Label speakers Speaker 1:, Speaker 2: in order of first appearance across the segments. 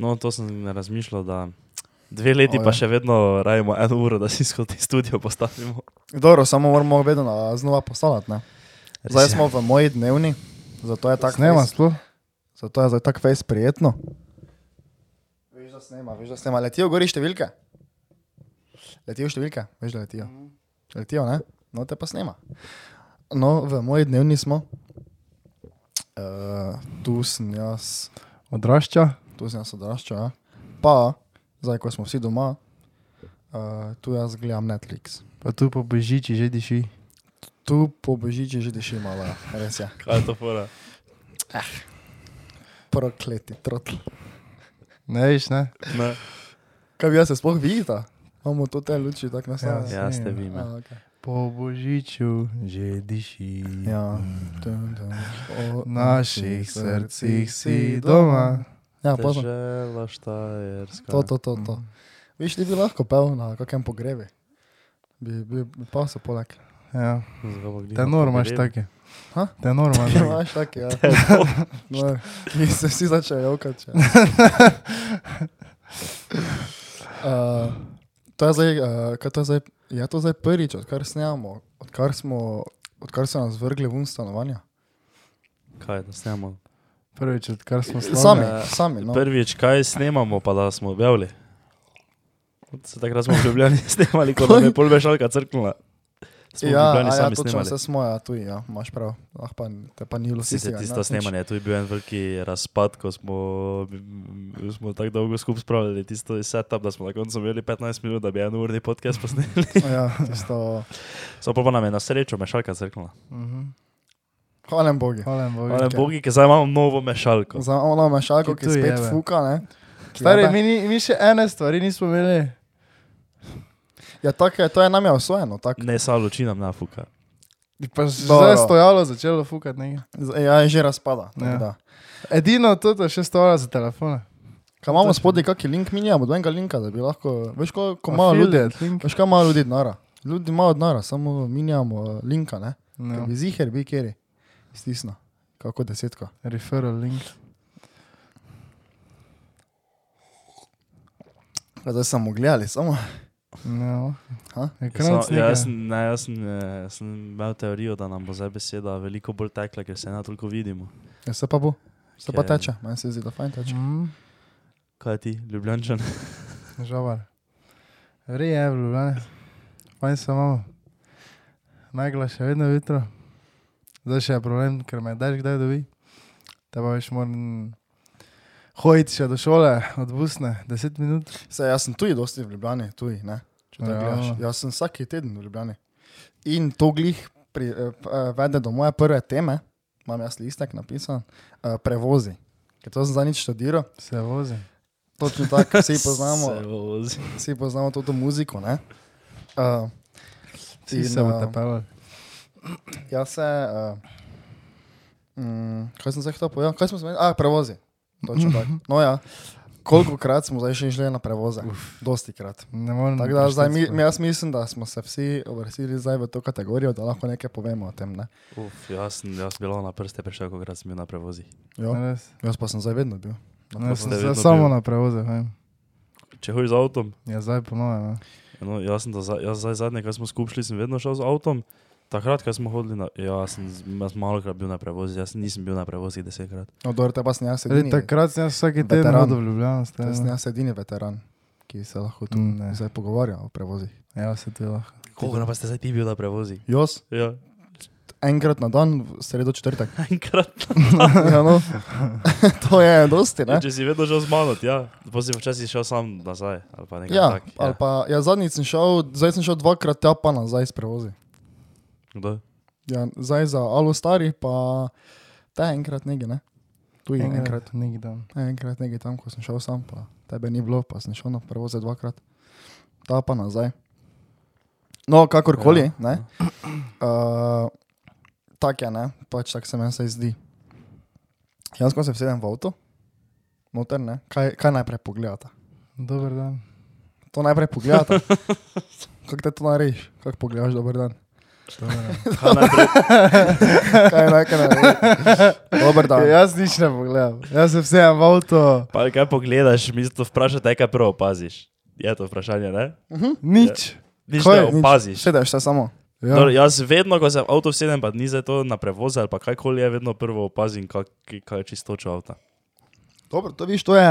Speaker 1: No, to sem razmišljal, da dve leti
Speaker 2: O,
Speaker 1: pa
Speaker 2: ja.
Speaker 1: še vedno rajemo eno uro, da si skozi studio postavimo.
Speaker 2: Dobro, samo moramo vedno na- znova postavljati. Ne?
Speaker 1: Res
Speaker 2: Zdaj
Speaker 1: je.
Speaker 2: smo v moji dnevni, zato je tako
Speaker 3: Snema sploh?
Speaker 2: Zato je zdaj tako fejs prijetno. Veš, da snema, veš, da snema. Letijo gori številke. Letijo številke, veš, da letijo.
Speaker 3: Mhm.
Speaker 2: Letijo, ne? No, te pa snema. No, v moji dnevni smo. Uh, tu sem jaz,
Speaker 3: Odrašča?
Speaker 2: tu sem jaz odrašča. Ja. Pa, zdaj, ko smo vsi doma, uh, tu jaz gledam Netflix.
Speaker 3: Pa tu po Božiči že diši.
Speaker 2: Tu po božiči že diši malo, ja. res je.
Speaker 1: Kaj je to fora?
Speaker 2: Prokleti, trotli.
Speaker 3: Ne veš, ne?
Speaker 1: Ne.
Speaker 2: Kaj bi jaz se sploh vidita? Imamo to te luči, tako nastavljeno.
Speaker 3: Ja,
Speaker 1: Ja, ste vi. me.
Speaker 2: A, okej.
Speaker 3: Po Božiču že diši.
Speaker 2: Ja. Dun, dun. O
Speaker 3: V naših srcih si doma.
Speaker 2: Ja, pozno.
Speaker 1: Dežela Štajerska.
Speaker 2: To, to, to, to. Viš, ti bi lahko pel na kakem pogrebi. Bi, bi, bi pa se poleg.
Speaker 3: Ja.
Speaker 1: Zgolj
Speaker 3: Tenor imaš take.
Speaker 2: Ha?
Speaker 3: Tenor imaš
Speaker 2: Ja,
Speaker 3: take.
Speaker 2: Imaš tak, ja. No, mi se vsi začnejo jokati. ja. če- Uh, to je zdaj, uh, kaj to je zdaj, je to zdaj prvič, odkar snemamo, odkar smo, odkar so nas vrgli ven iz stanovanja.
Speaker 1: Kaj, da snemamo?
Speaker 3: Prvič, odkar smo
Speaker 2: Sami,
Speaker 3: slavni.
Speaker 1: eh,
Speaker 2: sami, no.
Speaker 1: No. Prvič, kaj snemamo, pa da smo objavili. Se takrat smo v Ljubljani snemali, ko nam je pol vešalka crknila. Smo v
Speaker 2: Ja,
Speaker 1: Ljubljani
Speaker 2: a ja,
Speaker 1: sami
Speaker 2: točno,
Speaker 1: snemali.
Speaker 2: vse smo, ja, tu, ja, imaš prav. Ah, pa, te pa ni bilo
Speaker 1: Vsi se
Speaker 2: stisnjega,
Speaker 1: tisto
Speaker 2: no, nič.
Speaker 1: snemanje, tu je bil en veliki razpad, ko smo, m, smo tako dolgo skupaj spravljali tisto setup, da smo na koncu imeli 15 minut, da bi en urni podcast posneli.
Speaker 2: Ja, tisto,
Speaker 1: So pa pa nam je na srečo mešalka crknila.
Speaker 3: Mhm.
Speaker 2: hvala Bogu.
Speaker 3: Hvala Bogu.
Speaker 1: Hvala Bogu, ker zdaj imamo novo mešalko.
Speaker 2: Za ono mešalko,
Speaker 3: Ki
Speaker 2: ki
Speaker 3: tu
Speaker 2: spet
Speaker 3: jebe.
Speaker 2: fuka, ne.
Speaker 3: Stari,
Speaker 2: Jebe.
Speaker 3: mi, ni- mi še ene stvari nismo imeli.
Speaker 2: Ja, tako je, to je nam je osvojeno, tako.
Speaker 1: Ne, samo luči nam nafuka.
Speaker 3: Pa že
Speaker 2: Dobro.
Speaker 3: zdaj je stojalo, začelo fukati nekaj.
Speaker 2: Z- Ja, je že razpada. tako
Speaker 3: Ja.
Speaker 2: da.
Speaker 3: Edino to je še stojalo za telefone.
Speaker 2: Kaj imamo
Speaker 3: Točno.
Speaker 2: spodaj, kaki link minja, bo enega linka, da bi lahko, veš, ko, ko malo ljudi,
Speaker 3: Link.
Speaker 2: veš, kaj malo ljudi nara. Ljudi malo nara, samo minjamo eh, linka, ne.
Speaker 3: No.
Speaker 2: No. Bi ziher, bi kjeri. Stisno, kako desetka.
Speaker 3: Referral link.
Speaker 2: Ja, Zdaj smo gledali, samo.
Speaker 3: No.
Speaker 2: Ha?
Speaker 3: Ekran
Speaker 1: Samo- ja,
Speaker 3: snega.
Speaker 1: jaz, sem- ne, jaz sem, eh, sem imel teorijo, da nam bo zdaj beseda veliko bolj tekla, ker se ena toliko vidimo.
Speaker 2: Ja, se pa bo, se pa
Speaker 1: Ker-
Speaker 2: teče, meni se zdi, da fajn teče.
Speaker 3: Mm,
Speaker 1: Kaj ti, ljubljenčan?
Speaker 3: žabar. Reje je v Ljubljani. Fajn se imamo. Najgla še vedno jutro. Zdaj še je problem, ker me daš kdaj dobi. Te pa veš, moram hoditi še do šole, od busne, 10 minut.
Speaker 2: Se, jaz sem tudi dosti v Ljubljani, tudi, ne? Če tako
Speaker 3: Ja.
Speaker 2: gledaš. Jaz sem vsak teden v Ljubljani. In to glih pri, eh, p- eh, vede do moje prve teme, imam jaz listek napisan, eh, prevozi. Ker to sem zadnjič študiral,
Speaker 3: Se vozi.
Speaker 2: točno tako, vsi poznamo,
Speaker 1: Se vozi.
Speaker 2: vsi poznamo to muziko, ne? Uh,
Speaker 3: Vsi
Speaker 2: In,
Speaker 3: se bomo
Speaker 2: eh,
Speaker 3: tepali.
Speaker 2: jaz se, uh, mm, kaj sem se hotel povedati? Kaj smo se, a, prevozi. Točno tako. No ja, koliko krat smo zdaj še šli na prevoze? Dosti krat.
Speaker 3: Ne morem.
Speaker 2: Tako da zdaj, mi,
Speaker 3: prešteti
Speaker 2: mi- jaz mislim, da smo se vsi uvrstili zdaj v to kategorijo, da lahko nekaj povemo o tem. Ne?
Speaker 1: Uf, jaz sem jaz bila na prste prešel, ko sem bil na prevozih.
Speaker 3: sploh.
Speaker 2: Jo,
Speaker 3: Ja, Res.
Speaker 2: jaz pa sem zdaj vedno bil.
Speaker 3: Ne, sem
Speaker 1: ste
Speaker 3: se
Speaker 1: vedno
Speaker 3: samo
Speaker 1: bil?
Speaker 3: na prevoze. vem.
Speaker 1: Če hojiš z avtom,
Speaker 3: Ja, zdaj ponovim.
Speaker 1: no, jaz sem do za- jaz zdaj zadnje, kar smo skupaj šli, sem vedno šel z avtom. Takrat, ko smo hodili na... Ja, jaz sem, z- jaz sem malokrat bil na prevozih, jaz nisem bil na prevozih desetkrat.
Speaker 2: No, dobro, te pa sem jaz
Speaker 3: Re,
Speaker 2: edini,
Speaker 3: takrat sem jaz vsak teden
Speaker 2: Veteran.
Speaker 3: hodil v Ljubljano.
Speaker 2: te sem jaz edini veteran, ki se lahko tu
Speaker 3: ja. Mm, ne.
Speaker 2: zdaj pogovarja o prevozih.
Speaker 3: Ja, se ti lahko.
Speaker 1: Koliko pa ste zdaj ti bil na prevozih?
Speaker 2: Jaz
Speaker 1: Ja,
Speaker 2: enkrat na dan, v sredo četrtek.
Speaker 1: enkrat.
Speaker 2: ja, no. to je dosti,
Speaker 1: Ja,
Speaker 2: ne?
Speaker 1: če si vedno šel z mano, ja. Potem si včasih šel sam nazaj. Ali pa nekaj
Speaker 2: Ja,
Speaker 1: tak,
Speaker 2: ali pa ja, zadnjič sem šel, zdaj sem šel dvakrat tja pa nazaj s prevozi.
Speaker 1: Kdo?
Speaker 2: Ja, zdaj za alo stari, pa te enkrat nekaj, ne? Tu je enkrat.
Speaker 3: Nek dan.
Speaker 2: Enkrat nekaj tam, ko sem šel sam, pa tebe ni bilo, pa sem šel na prvo za dvakrat, ta pa nazaj. No, kakorkoli, ja,
Speaker 1: Ja,
Speaker 2: ne. Uh, tak je, ne, pač tak se meni se zdi. Jaz, ko se vsedem v avto, noter ne, kaj, kaj najprej pogledata?
Speaker 3: Dober dan.
Speaker 2: To najprej pogledata. Kako te to narediš? Kako pogledaš dober dan?
Speaker 1: Kaj najprej-
Speaker 2: Kaj je najkaj narediš? Dober dan.
Speaker 3: Ja, Jaz nič ne pogledam, jaz se vsem v avto,
Speaker 1: Pa kaj pogledaš, mi to vprašaj, te, kaj prvo opaziš. Je to vprašanje, ne?
Speaker 3: nič.
Speaker 1: Nič
Speaker 2: Kaj?
Speaker 1: ne
Speaker 2: Nič.
Speaker 1: opaziš.
Speaker 2: Sedeš se samo.
Speaker 3: Ja.
Speaker 1: Ja. Jaz vedno, ko se avto sedem, pa ni za to na prevoz ali pa kajkoli, je vedno prvo opazim, kak- kaj je čistočo avta.
Speaker 2: Dobro, to viš, to je,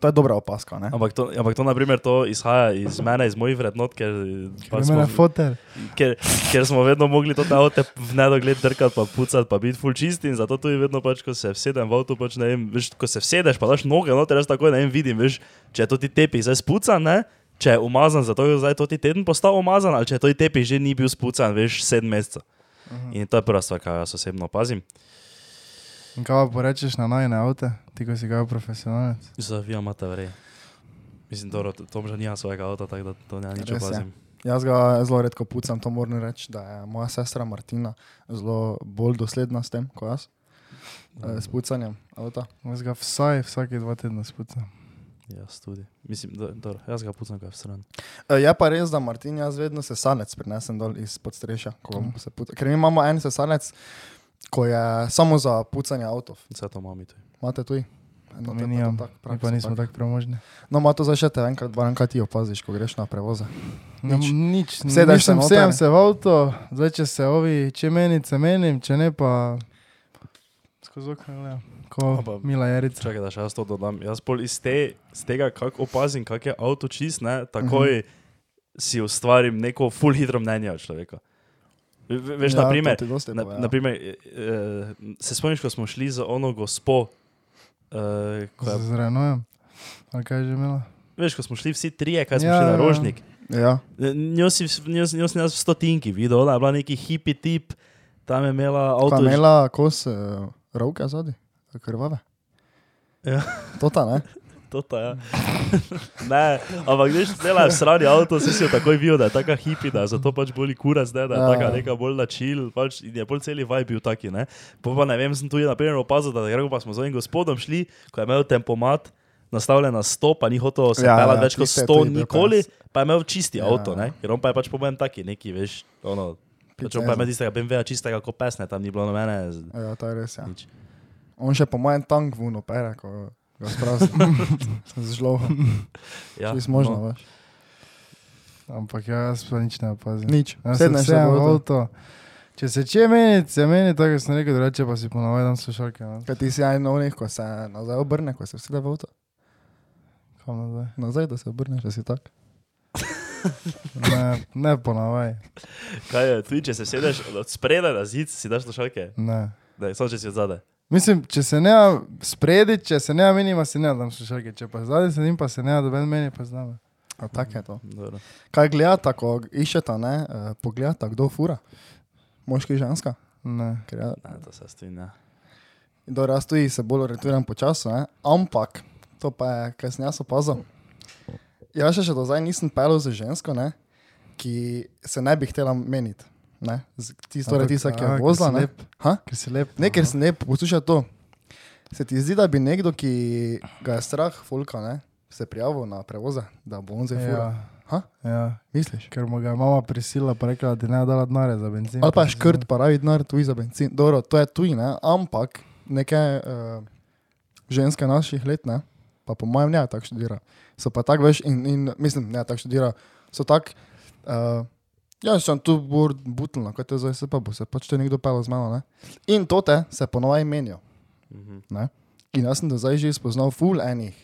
Speaker 2: to je dobra opaska. Ne?
Speaker 1: Ampak to, ampak to, na primer, to izhaja iz mene, iz mojih vrednot, ker,
Speaker 3: Ker
Speaker 1: pač
Speaker 3: me na
Speaker 1: smo,
Speaker 3: foter.
Speaker 1: ker, ker smo vedno mogli to avto v nedogled drkati, pa pucati, pa biti full čist in zato tudi vedno, pač, ko se vsedem v avto, pač, ne vem, veš, ko se vsedeš, pa daš noge, no, teraz takoj ne vem, vidim, veš, če je to ti tepi zdaj spucan, ne? Če je umazan, zato je zdaj to ti teden postal umazan, ali če je to ti tepi že ni bil spucan, veš, sedem mesecev.
Speaker 2: Mhm.
Speaker 1: In to je prva stvar, kar jaz osebno opazim.
Speaker 3: In kaj pa porečeš na najne avto, ti ko si ga profesionalec.
Speaker 1: Zavija mata vrej. Mislim, dobro, Tom že nima svojega avta, tako da to ne nič
Speaker 2: Res je.
Speaker 1: opazim.
Speaker 2: Jaz ga zelo redko pucam, to moram reči, da je moja sestra Martina zelo bolj dosledna s tem, kot jaz. eh, S pucanjem avta.
Speaker 3: Jaz ga vsaj vsake dva tedna spucam.
Speaker 1: Jaz tudi. Mislim, da, dobro, jaz ga pucam, kaj je stran.
Speaker 2: Eh, Je pa res, da Martin jaz vedno sesalec prinesem dol iz podstrešja, ko bom se pucam. Ker mi imamo en sesalec, ko je samo za pucanje avtov.
Speaker 1: Vse to mami tu.
Speaker 2: Imate tudi? No,
Speaker 3: Mi nimamo, mi pa nismo
Speaker 2: tak.
Speaker 3: tako premožni.
Speaker 2: No, ima to zdaj še te enkrat, dvakrat ti opaziš, ko greš na prevoze.
Speaker 3: Ne,
Speaker 2: Nič.
Speaker 3: nič,
Speaker 2: Sedeš
Speaker 3: nič.
Speaker 2: se
Speaker 3: Sem
Speaker 2: noter.
Speaker 3: vsem se v avto, zdaj če se ovi, če menim, se menim, če ne pa skozi okno gledam. Ko
Speaker 1: Ampak-
Speaker 3: mila jerica.
Speaker 1: Čakaj, da še jaz to dodam. Jaz bolj iz, te, iz tega, kako opazim, kak je avto čist, ne, takoj uh -huh. si ustvarim neko full hitro mnenje o človeku. Ve- ve- Veš, ja, na primer,
Speaker 2: to ti dosti
Speaker 1: Na,
Speaker 2: pove, ja.
Speaker 1: naprimer eh, eh, se spomniš, ko smo šli za ono gospo, eh, ko je,
Speaker 3: Zranujem. Ali kaj je že imela?
Speaker 1: veš, ko smo šli vsi trije, kaj smo
Speaker 3: Ja,
Speaker 1: ja, šli na
Speaker 3: ja.
Speaker 1: rožnik.
Speaker 2: Ja.
Speaker 1: Njo si, njo, njo si nas v stotinki videl, ona je bila neki hipi tip, tam je imela
Speaker 2: Pa
Speaker 1: avto.
Speaker 2: imela kos uh, roke zadaj, krvave.
Speaker 1: Ja.
Speaker 2: Tota, ne?
Speaker 1: Tota, ja. ne, ampak veš, zdaj je srani avto, si si jo takoj videl, da je taka hipi, da je zato pač bolj kurac, ne, da je
Speaker 2: Ja,
Speaker 1: taka
Speaker 2: ja.
Speaker 1: neka bolj načil, pač in je bolj celi vibe bil taki, ne. Po pa ne vem, sem tu je na primer opazil, da tako pa smo z enim gospodom šli, ko je imel tempomat, nastavljen na 100, pa ni hotel se
Speaker 2: Ja,
Speaker 1: ja,
Speaker 2: ja,
Speaker 1: pelati več kot
Speaker 2: tiste je
Speaker 1: 100
Speaker 2: tudi bil
Speaker 1: nikoli,
Speaker 2: konec.
Speaker 1: pa je imel čisti ja.
Speaker 2: Ja.
Speaker 1: avto, ne, ker on pa je pač po meni taki, neki, veš, ono, pač on pa je imel tistega BMW-ja čistega kot pesne, tam ni bilo nobene. z-
Speaker 2: Ja, to je res. Ja.
Speaker 1: Nič.
Speaker 2: On še po mojem tank vun opera, ko ga sprazi. Zelo
Speaker 1: Ja,
Speaker 2: možno,
Speaker 1: no.
Speaker 2: no. veš.
Speaker 3: Ampak ja, jaz pa nič ne opazim.
Speaker 2: Nič.
Speaker 3: Jaz sem
Speaker 2: Sedneš se
Speaker 3: vsem
Speaker 2: v
Speaker 3: v
Speaker 2: avto.
Speaker 3: avto. Če se če meni, se meni, tako kot sem rekel, drugače pa si ponovadi dam slušalke. No.
Speaker 2: Kaj ti si en onih, ko se nazaj obrne, ko se vsi da v avto.
Speaker 3: Kam nazaj?
Speaker 2: Nazaj, da se obrneš, da si tak.
Speaker 3: Ne, ne ponovaj.
Speaker 1: Kaj je, tudi če se sedeš od spredaj na zid, si daš slušalke,
Speaker 3: Ne.
Speaker 1: da so že si od zadaj.
Speaker 3: Mislim, če se ne spredi, če se ne menima, se ne dam slušalke. Če pa zadaj sedim, pa se ne doben meni, pa znam.
Speaker 2: A tak je to.
Speaker 1: Dobro.
Speaker 2: Kaj gledata, ko iščeta, ne? eh, Pogledata, kdo fura. Moški, ženska.
Speaker 3: Ne.
Speaker 2: Ker ja,
Speaker 1: Ne, to se strinja. ne.
Speaker 2: do jaz tudi se bolj orientiram po času, ne? ampak to pa je, kar sem jaz opazil. Jaz še, še do zdaj nisem pel z žensko, ne? ki se ne bi htela meniti. Ne? Z- Tisto,
Speaker 3: Ampak,
Speaker 2: torej tista, ki
Speaker 3: a,
Speaker 2: je
Speaker 3: ker
Speaker 2: vozila.
Speaker 3: si
Speaker 2: Ne?
Speaker 3: lep.
Speaker 2: Ha?
Speaker 3: Ker si lep. no.
Speaker 2: ne, ker sem ne poslušal to. Se ti zdi, da bi nekdo, ki ga je strah, folka, ne? se prijavil na prevoze, da bo on zdaj fura.
Speaker 3: Ja.
Speaker 2: Ha?
Speaker 3: Ja.
Speaker 2: Misliš?
Speaker 3: Ker mu ga je mama prisila, pa rekla, da ti ne dala denarja za benzin.
Speaker 2: Ali pa škrt, pa ravi denar, tuji za benzin. Dobro, to je tuji, ne? ampak neke uh, ženske naših let, ne? pa po mojem, ne tako študira. So pa tako veš, in, in mislim, ne tako študira. So tako, uh, ja, sem tu bolj butlno, kaj te zdaj se pa bo, se pač te nekdo pelo z mano. Ne? In to te se ponovaj menijo.
Speaker 1: Mhm.
Speaker 2: Ne? In jaz sem do zdaj že spoznal ful enih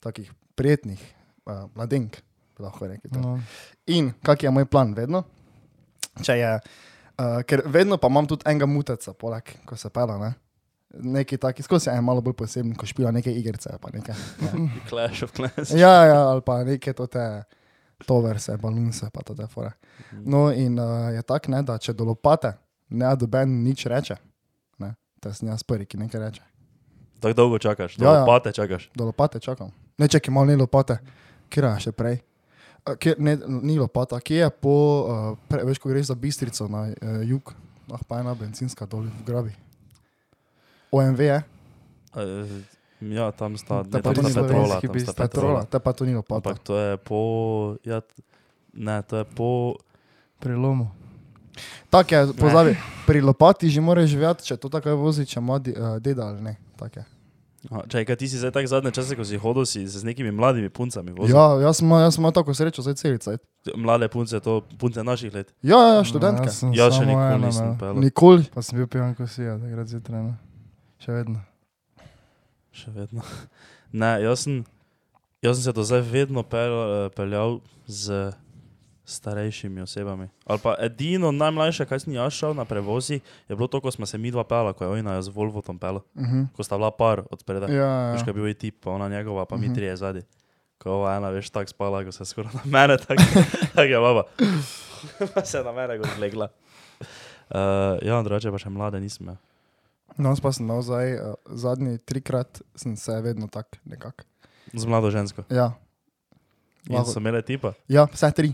Speaker 2: takih prijetnih uh, mladenk, bi lahko rekel. No.
Speaker 3: No.
Speaker 2: In kak je moj plan, vedno? Če je, uh, ker vedno pa imam tudi enega muteca, poleg, ko se pela. Ne? Neki taki, skozi je en malo bolj poseben, ko špila neke igrice. ali pa Neke,
Speaker 1: Mhm.
Speaker 2: ne.
Speaker 1: Clash of Clans.
Speaker 2: ja, ja, ali pa neke tote, toverse, balunce, pa tote fore. No, in uh, je tak, ne, da če dolopate, ne, doben nič reče. Ne, te sem jaz prvi, ki nekaj reče.
Speaker 1: Tako dolgo čakaš,
Speaker 2: Ja, ja.
Speaker 1: dolgo pate čakaš.
Speaker 2: Do lopate čakam. Ne, čakaj, malo ni lopate, kira še prej. A, Kjer, ne, ni lopata, kje je po, uh, pre, veš, ko greš za bistrico na uh, jug, ah, pa ena benzinska dol v grabi. OMV je,
Speaker 1: Eh, Ja, tam sta,
Speaker 2: Ta
Speaker 1: ne, tam
Speaker 2: pa
Speaker 1: sta
Speaker 2: ni
Speaker 1: petrola,
Speaker 3: slovenski
Speaker 1: tam sta
Speaker 3: bistven.
Speaker 1: petrola.
Speaker 2: Petrola, te pa to ni lopata.
Speaker 1: Ampak to je po, ja, t- ne, to je po,
Speaker 3: Prelomu.
Speaker 2: Tako je, pozabi, pri lopati že moraš živeti, če to tako vozi, če ima di- eh, deda ali ne. tako je.
Speaker 1: Aha, čakaj, kaj ti si zdaj tak zadnje čase, ko si hodil, si se z nekimi mladimi puncami vozil.
Speaker 2: Ja, jaz sem imel- jaz sem imel tako srečo, zdaj celica.
Speaker 1: Mlade punce, to punce naših let.
Speaker 2: Ja, ja, ja,
Speaker 3: No,
Speaker 2: študentka.
Speaker 3: jaz sem
Speaker 1: Jaz še
Speaker 3: samo
Speaker 1: nikoli
Speaker 3: eno
Speaker 1: nisem
Speaker 3: imel.
Speaker 1: pel.
Speaker 2: Nikoli.
Speaker 3: Pa sem bil pijan, ko si ja, takrat zjutraj. no. Še vedno.
Speaker 1: Še vedno. Ne, jaz sem, jaz sem se do zdaj vedno pel, eh, peljal z starejšimi osebami. Ali pa edino najmlajše, kaj sem jaz šel na prevozi, je bilo to, ko smo se mi dva pela, ko je ona z Volvo tam pela,
Speaker 2: Mhm.
Speaker 1: ko sta bila par od spredaj.
Speaker 2: Ja,
Speaker 1: Veš,
Speaker 2: ja.
Speaker 1: kaj je bil je tip, pa ona njegova, pa mi
Speaker 2: Mhm.
Speaker 1: trije zadnji. Ko je ova ena, veš, tako spala, ko se je skoraj na mene, tako tak je baba. Pa se je na mene kot legla. Uh, ja, drugače pa še mlade nisem. ja. imel.
Speaker 2: No, jaz pa sem imel zdaj eh, zadnji trikrat, sem se vedno tak nekako.
Speaker 1: Z mlado žensko.
Speaker 2: Ja.
Speaker 1: In
Speaker 2: Lahko-
Speaker 1: so imele tipa.
Speaker 2: ja, vse tri.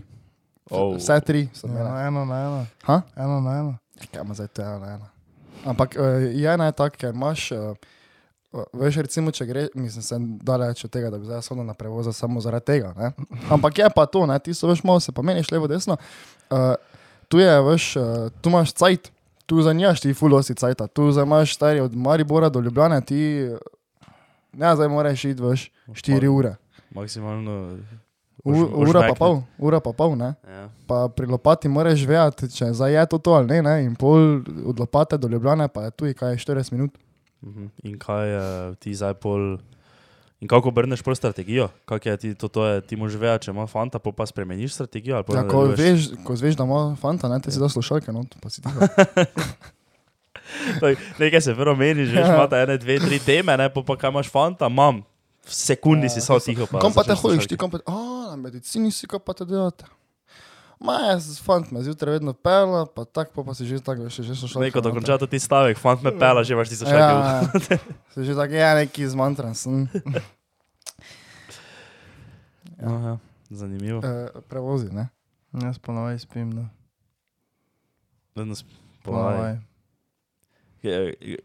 Speaker 1: Oh.
Speaker 2: Vse tri
Speaker 3: Ja,
Speaker 2: sem imel.
Speaker 3: no, eno na eno.
Speaker 2: Ha?
Speaker 3: Eno na eno.
Speaker 2: Kaj ima Ja, zdaj to ena na ena? Ampak eh, je ena je tak, ker imaš, eh, veš, recimo, če greš, mislim, sem daleč od tega, da bi zdaj sodel na prevoz samo zaradi tega. Ne? Ampak je pa to, ne? ti so veš malo, se pa meniš levo, desno. Eh, tu je, veš, eh, tu imaš cajt, tu zanjaš ti fulosi cajt, tu zdaj imaš stari od Maribora do Ljubljana, ti ne zdaj moraš iti, veš, 4 ure.
Speaker 1: Maksimalno.
Speaker 2: U,
Speaker 1: ož-
Speaker 2: ura pa
Speaker 1: ožmekniti.
Speaker 2: pol, ura pa pol, ne?
Speaker 1: Ja.
Speaker 2: pa pri lopati moraš vedeti, če zdaj je to, to ali ne, ne, in pol od lopate do Ljubljana pa je tu, kaj je 40 minut.
Speaker 1: Mhm. In kaj je ti zdaj pol. In kako obrneš pol strategijo? Kak je ti to, to je, ti moraš vedeti, če ima fanta, pol pa spremeniš strategijo. ali pol
Speaker 2: Ja, ko,
Speaker 1: nadaljuješ?
Speaker 2: veš, ko veš, da ima fanta, ne, ti
Speaker 1: Ja.
Speaker 2: si da slušalke, no, pa si ti.
Speaker 1: Tako, Nekaj se prvo meniš, veš,
Speaker 2: Ja.
Speaker 1: ima ta ene, dve, tri teme, ne, pol pa kaj imaš fanta, imam. V sekundi si samo tiho.
Speaker 2: Ja, Kam pa te
Speaker 1: začneš
Speaker 2: hodiš,
Speaker 1: slušalke.
Speaker 2: ti kam pa, a, na medicini si, kam pa te delate. Ma, jaz s fant me zjutraj vedno pela, pa tako pa, pa si že tako, še že slušalke.
Speaker 1: Neko
Speaker 2: noter.
Speaker 1: dokonča ti stavek, fant me pela, že imaš ti zašel. Ja.
Speaker 2: Ja, ja. si že tako, ja, neki zmantran sem.
Speaker 1: Aha, Zanimivo.
Speaker 2: Eh, prevozi, ne.
Speaker 3: Jaz ponovaj spim. No.
Speaker 1: Vedno sp- polaj.
Speaker 3: Ponovaj.
Speaker 1: Je- je-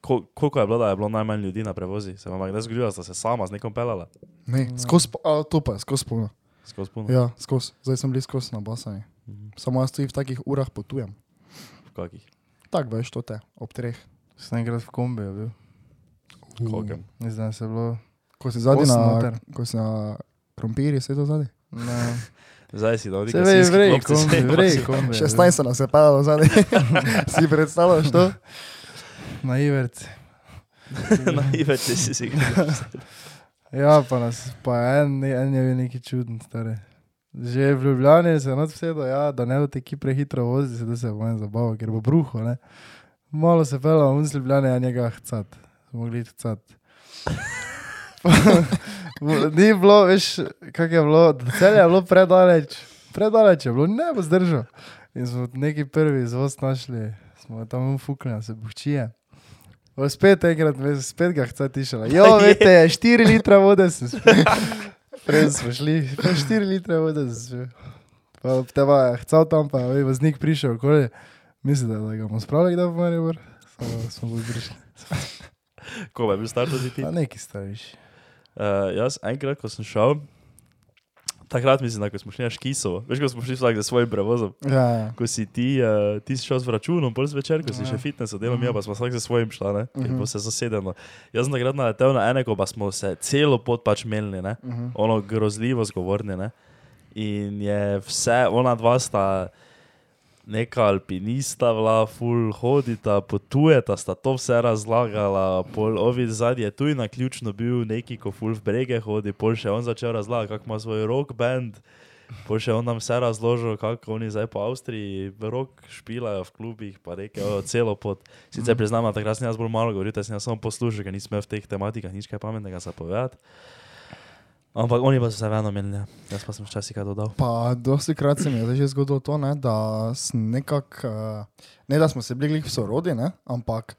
Speaker 1: ko- Koliko je bilo, da je bilo najmanj ljudi na prevozi? Se vam je kdaj zgodilo, da sta se sama z nekom pelala?
Speaker 2: Ne,
Speaker 1: No.
Speaker 2: skozi, po- a, to pa je, skozi polno.
Speaker 1: Skozi puno.
Speaker 2: Ja, skozi, zdaj sem bil skozi na basani.
Speaker 1: Mhm.
Speaker 2: Samo jaz tu v takih urah potujem.
Speaker 1: V kakih?
Speaker 2: Tako veš, to te, ob treh.
Speaker 3: Sem enkrat v kombiju bil.
Speaker 1: Kokem.
Speaker 3: Ne znam se je bilo.
Speaker 2: Ko si zadnji
Speaker 3: Osem
Speaker 2: na,
Speaker 3: noter.
Speaker 2: ko si na krompirju, se to zadnji.
Speaker 3: Ne.
Speaker 1: Zdaj si no, dal
Speaker 3: Se
Speaker 1: nekaj
Speaker 3: ve,
Speaker 1: gasilskih
Speaker 3: vrej,
Speaker 1: klopcev,
Speaker 3: kombi,
Speaker 1: saj pa
Speaker 3: vrej,
Speaker 1: si-
Speaker 3: kombi.
Speaker 2: 16 so nas je padalo zadnji. si predstavljaš to?
Speaker 3: Na Iverci.
Speaker 1: Na Iveč si si ga.
Speaker 3: Ja, pa nas, pa en, en je bil neki čuden, stari. Že v Ljubljani se je noč vsedo, ja, da ne bo teki prehitro vozi, se da se bom zabaval, ker bo bruho, ne. Malo se pela, on z Ljubljane, a njega hcat, smo mogli iti hcat. Ni bilo, veš, kak je bilo, cel je bilo predaleč, predaleč je bilo, ne bo zdržal. In smo neki prvi izvoz našli, smo tam fuknili, se buhčije. Pa Spet enkrat, veš, spet ga hca tišala. Jo, veste, 4 litra vode sem spil. Prej smo šli, pa 4 litra vode sem spil. Pa teba je hcal tam, pa je voznik prišel okoli. Mislite, da ga bomo spravili, da bomo rekli, samo smo bili prišli.
Speaker 1: Ko je bil star tudi ti?
Speaker 3: Pa neki starejši.
Speaker 1: Uh, jaz enkrat, ko sem šel, takrat mislim, da ko smo šli na Škisovo, veš, ko smo šli vsak za svojim prevozom,
Speaker 2: Ja, ja.
Speaker 1: ko si ti, uh, ti si šel z računom, pol zvečer, ko si
Speaker 3: Ja.
Speaker 1: še fitness delal, mi
Speaker 3: Mhm.
Speaker 1: pa smo vsak za svojim šla, ne, ker
Speaker 2: Mhm.
Speaker 1: bo se zasedeno. Jaz sem takrat naletel na enega, pa smo se celo pot pač menili, ne,
Speaker 2: Mhm.
Speaker 1: ono grozljivo zgovorni, ne. In je vse, ona dva sta neka alpinista, bila, full hodita, potujeta, sta to vse razlagala, pol ovid zadnji je tuj na ključno bil neki, ko full v brege hodi, pol še on začel razlagati, kako ima svoj rock band, pol še on nam vse razložil, kako oni zdaj po Avstriji rock špilajo v klubih, pa rekel, celo pot. Sicer priznam, da takrat sem jaz bolj malo govoril, da sem jaz samo poslušal, ker nisem imel v teh tematikah nič kaj pametnega zapovedati. Ampak oni pa so se vedno menili, jaz pa sem včasih kaj dodal.
Speaker 2: Pa dosti krat se mi je zdaj že zgodilo to, ne, da sem nekak, eh, ne da smo se bili glih v sorodi, ne, ampak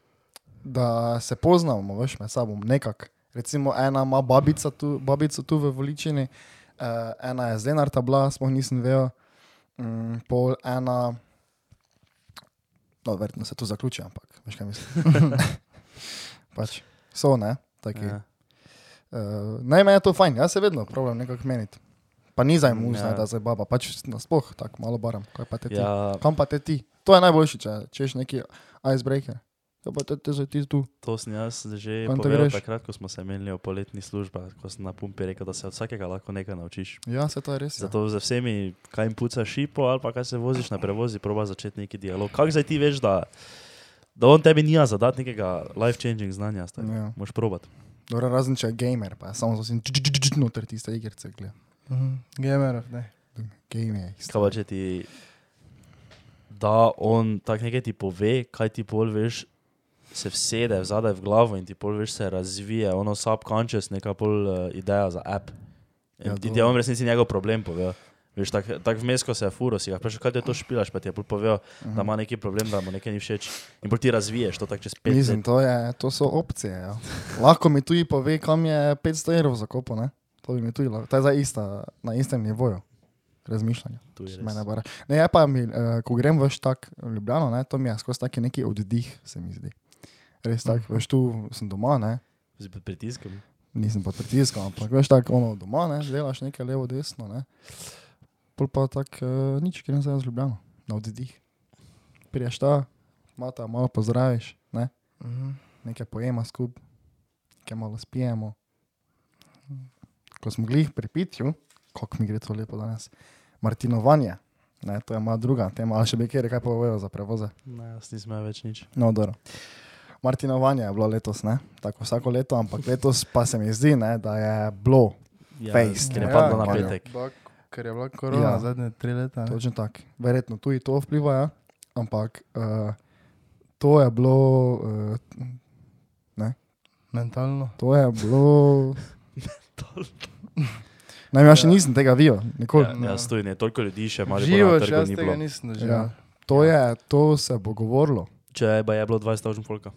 Speaker 2: da se poznamo, veš, med sabo nekak. Recimo ena ima babica tu, babico tu v Voličini, eh, ena je z Lenarta bila, smo nisem vejo, mm, pol ena, no verjetno se tu zaključi, ampak veš kaj mislim. pač so, ne, taki.
Speaker 1: Ja.
Speaker 2: Uh, naj me je to fajn, jaz se vedno pravim nekako meniti. Pa ni za mu,
Speaker 1: Ja.
Speaker 2: da se baba, pač nasploh tako malo baram. Kaj pa te ti?
Speaker 1: Ja,
Speaker 2: Kam pa te ti? To je najboljši, če češ neki icebreaker. Kaj pa te, te za ti tu?
Speaker 1: to sem jaz že
Speaker 2: Kam to
Speaker 1: povedal
Speaker 2: greš?
Speaker 1: takrat, ko smo se imeli o poletni službi, ko sem na pumpi rekel, da se od vsakega lahko nekaj naučiš.
Speaker 2: Ja, se to je res. Ja.
Speaker 1: Zato za vsemi, kaj jim puca šipo ali pa kaj se voziš na prevozi, proba začeti neki dialog. Kako zdaj ti veš, da, da on tebi nija zadati nekega life-changing znanja?
Speaker 2: Ja.
Speaker 1: Ja. Moš probat.
Speaker 2: Dobro, razen če je gamer, pa je samo zasim noter tiste igrice, gled.
Speaker 3: Mhm. Gamerov, ne.
Speaker 2: Game je.
Speaker 1: Kaj pa če ti da on tako nekaj ti pove, kaj ti pol veš, se vsede zadaj v glavo in ti pol veš, se razvije ono subconscious, neka pol uh, ideja za app.
Speaker 2: Ja,
Speaker 1: Ja, ti
Speaker 2: to-
Speaker 1: ti je on v resnici njegov problem pove. Veš, tako tak vmes, ko se je furo, si ga vprašaš, kaj ti je to špilaš, pa ti je pol povedal, uh -huh.
Speaker 2: Mhm.
Speaker 1: da ima neki problem, da mu nekaj ni všeč. In pol ti razviješ to tako čez pet
Speaker 2: Mislim,
Speaker 1: let.
Speaker 2: to, je, to so opcije. Ja. Lahko mi tudi pove, kam je 500 evrov zakopo. Ne? To bi mi tudi lahko. To je za ista, na istem nivoju razmišljanja.
Speaker 1: To je res.
Speaker 2: Mene bara. Ne, je pa mi, eh, ko grem veš tako v Ljubljano, ne, to mi je skozi taki neki oddih, se mi zdi. Res tako, veš tu sem doma, ne?
Speaker 1: Z pritiskom.
Speaker 2: nisem pod pritiskom, ampak veš tako ono doma, ne? delaš nekaj levo, desno. Ne? Pol pa tako eh, nič, grem zdaj v Ljubljano, na oddih. Priješ ta, mata, malo pozdraviš. Ne?
Speaker 3: Mhm.
Speaker 2: nekaj pojema skupaj, nekaj malo spijemo. Ko smo glih pri pitju, kako mi gre to lepo danes, martinovanje, ne, to je moja druga tema, ali še bi kjer kaj povedal za prevoze.
Speaker 1: Ne, jaz nisem imel več nič.
Speaker 2: No, dobro. Martinovanje je bilo letos, ne? tako vsako leto, ampak letos pa se mi zdi, ne, da je bilo
Speaker 1: Ja,
Speaker 2: Fejst.
Speaker 1: Ker je
Speaker 3: Ja,
Speaker 1: padlo na
Speaker 2: ja.
Speaker 1: petek.
Speaker 3: Bila- Ker je bila korona
Speaker 2: Ja.
Speaker 3: ja. zadnje tri leta. ne.
Speaker 2: točno tako. Verjetno tudi to vpliva, ja? ampak uh, to je bilo, uh,
Speaker 3: Mentalno.
Speaker 2: to je bilo. Naj, jaz še
Speaker 3: Ja.
Speaker 2: nisem tega videl, nikoli.
Speaker 1: Ja, jaz tu ne, toliko ljudi še malo
Speaker 3: Živo, če
Speaker 1: živo.
Speaker 3: jaz tega nisem doživel.
Speaker 2: Ja.
Speaker 3: Ja.
Speaker 2: To, je, to se bo govorilo.
Speaker 1: Če pa je bilo 20.000 folka.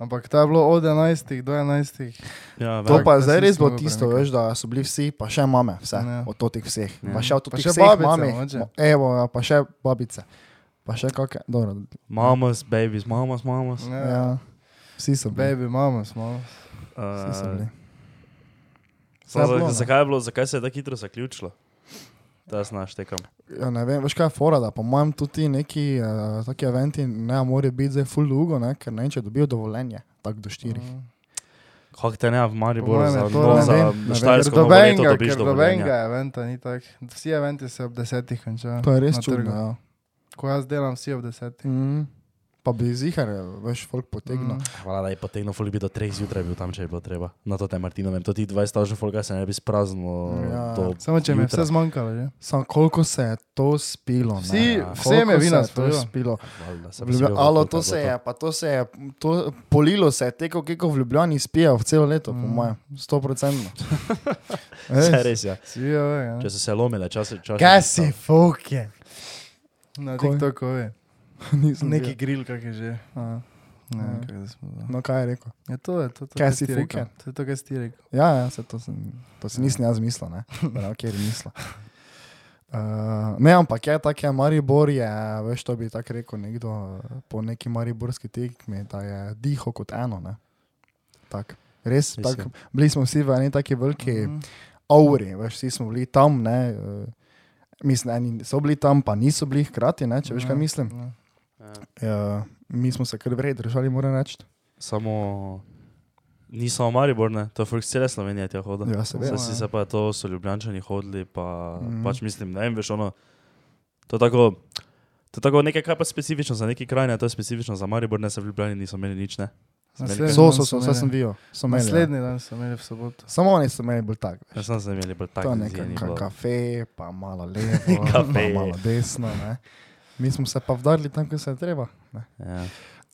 Speaker 3: Ampak to je bilo od 11 do 11.
Speaker 1: Ja, verjetno.
Speaker 2: To
Speaker 3: Tako,
Speaker 2: pa je
Speaker 3: jaz
Speaker 2: zdaj
Speaker 3: nisem
Speaker 2: res bilo
Speaker 3: mogel
Speaker 2: tisto,
Speaker 3: premakniti.
Speaker 2: veš, da so bili vsi, pa še mame, vse,
Speaker 3: Ja.
Speaker 2: od totih vseh.
Speaker 1: Ja.
Speaker 2: Pa še od
Speaker 3: Pa
Speaker 2: totih
Speaker 3: še
Speaker 2: vseh
Speaker 3: babice,
Speaker 2: mami.
Speaker 3: mogoče.
Speaker 2: Evo, ja, pa še babice. Pa še kakšne, dobro.
Speaker 1: Mamas, babies, mamas, mamas. Eh,
Speaker 3: Ja. Ja.
Speaker 2: Ja. Vsi so bili.
Speaker 3: Baby, mama smo. no.
Speaker 2: Vsi so
Speaker 1: Uh,
Speaker 2: bili.
Speaker 1: samo
Speaker 2: Saj je
Speaker 1: za,
Speaker 2: bilo, ne?
Speaker 1: zakaj, je bilo, zakaj se je tako hitro zaključilo? Da jaz naštekam.
Speaker 2: Ja, ne vem, veš kaj je fora, da po mojem tudi neki uh, taki eventi ne morejo biti zdaj full dolgo, ne, ker ne vem, če dobijo dovoljenje, tako do štirih.
Speaker 3: Mm. Mhm.
Speaker 1: Kako te ne v
Speaker 3: Po
Speaker 1: Mariboru
Speaker 3: mojem
Speaker 1: za,
Speaker 3: je to,
Speaker 1: no,
Speaker 3: ne
Speaker 1: za
Speaker 2: vem, ne
Speaker 1: štajersko nobeto
Speaker 3: Ker dobenega,
Speaker 1: dobiš
Speaker 3: ker
Speaker 1: dovoljenje?
Speaker 3: dobenega eventa ni tak. Vsi eventi se ob desetih končajo.
Speaker 2: To je res
Speaker 3: na
Speaker 2: čudno.
Speaker 3: trgu.
Speaker 2: Ja.
Speaker 3: Ko jaz delam, vsi ob desetih.
Speaker 2: Mm. Pa bi zihar, veš, folk potegnil.
Speaker 3: Mhm.
Speaker 1: Hvala, da je potegnil folk bi do 3 zjutraj bil tam, če je bilo treba. Na to te Martinovem, to ti 20.000 folka se ne bi spraznilo.
Speaker 2: Ja.
Speaker 1: do
Speaker 3: Samo če mi je
Speaker 1: jutra.
Speaker 3: vse zmanjkalo. Že.
Speaker 2: Samo koliko se je to spilo? ne,
Speaker 3: Vsi-
Speaker 2: ja.
Speaker 3: vsem je
Speaker 2: Koliko se
Speaker 3: vina
Speaker 2: to
Speaker 3: spojila.
Speaker 2: spilo.
Speaker 1: Valjda, saj bi si
Speaker 2: Ljublja,
Speaker 1: bil
Speaker 2: alo,
Speaker 1: folk,
Speaker 2: to
Speaker 1: ali
Speaker 2: se je, pa to se je, to, polilo se je, teko keko v Ljubljani spijo v celo leto, mm. po
Speaker 3: Mm.
Speaker 2: mojem, sto procentno.
Speaker 1: Saj res je.
Speaker 3: Vsi jo ve. ja.
Speaker 1: Če so se lomile, časi čas.
Speaker 2: Kaj si, fuk je?
Speaker 3: Na
Speaker 2: Ko je?
Speaker 3: TikToku je.
Speaker 2: Nisem neki.
Speaker 3: Neki grill, kak je že. Ne,
Speaker 2: Ja.
Speaker 3: vem, kako da smo.
Speaker 2: No, kaj je rekel?
Speaker 3: Ja, to je to, to,
Speaker 2: Kaj
Speaker 3: kar
Speaker 2: si
Speaker 3: si ti rekel.
Speaker 2: fuken?
Speaker 3: To je to, kar si ti rekel.
Speaker 2: Ja, ja se to, sem, to si nisem jaz mislil, ne, prav, kjer je mislil. Uh, ne, ampak je tako, je Maribor, je, veš, to bi tako rekel nekdo eh, po neki mariborski tekmi, da je diho kot eno. ne. Tako. Res,
Speaker 1: Res
Speaker 2: tak,
Speaker 1: je.
Speaker 2: bili smo vsi v eni taki veliki. Mm -hmm.
Speaker 3: Mhm.
Speaker 2: auri, veš, vsi smo bili tam, ne, eh, mislim, eni so bili tam, pa niso bili hkrati, ne, če veš, kaj
Speaker 3: Ja,
Speaker 2: mislim.
Speaker 3: ja.
Speaker 2: Ja, mi smo se kar vrej držali, moram reči.
Speaker 1: Samo ni samo Maribor, ne? to je folk iz cele Slovenije tja hodil.
Speaker 2: Ja, seveda.
Speaker 1: Zdaj si se pa to, so ljubljančani hodili, pa
Speaker 2: Mhm.
Speaker 1: mm. pač mislim, ne vem, veš, ono, to je tako, to je tako nekaj, kar pa specifično za neki kraj, ne, to je specifično za Maribor, ne, se v Ljubljani niso imeli nič, ne. Ja,
Speaker 3: Naslednji
Speaker 2: Ja, So,
Speaker 3: dan
Speaker 2: so, so, vse
Speaker 3: imeli-
Speaker 2: sem videl. So imeli, ja.
Speaker 3: Naslednji dan so imeli v soboto.
Speaker 2: Samo oni so imeli bolj tak.
Speaker 1: Ne,
Speaker 2: veš.
Speaker 1: sem se imeli, bolj
Speaker 2: To
Speaker 1: tako
Speaker 2: je
Speaker 1: izjeni.
Speaker 2: nekaj ka kafe, pa malo levo, pa
Speaker 1: Kafe.
Speaker 2: malo desno. Ne. Mi smo se pa vdarili tam, kjer se je treba. Ne.
Speaker 1: Ja.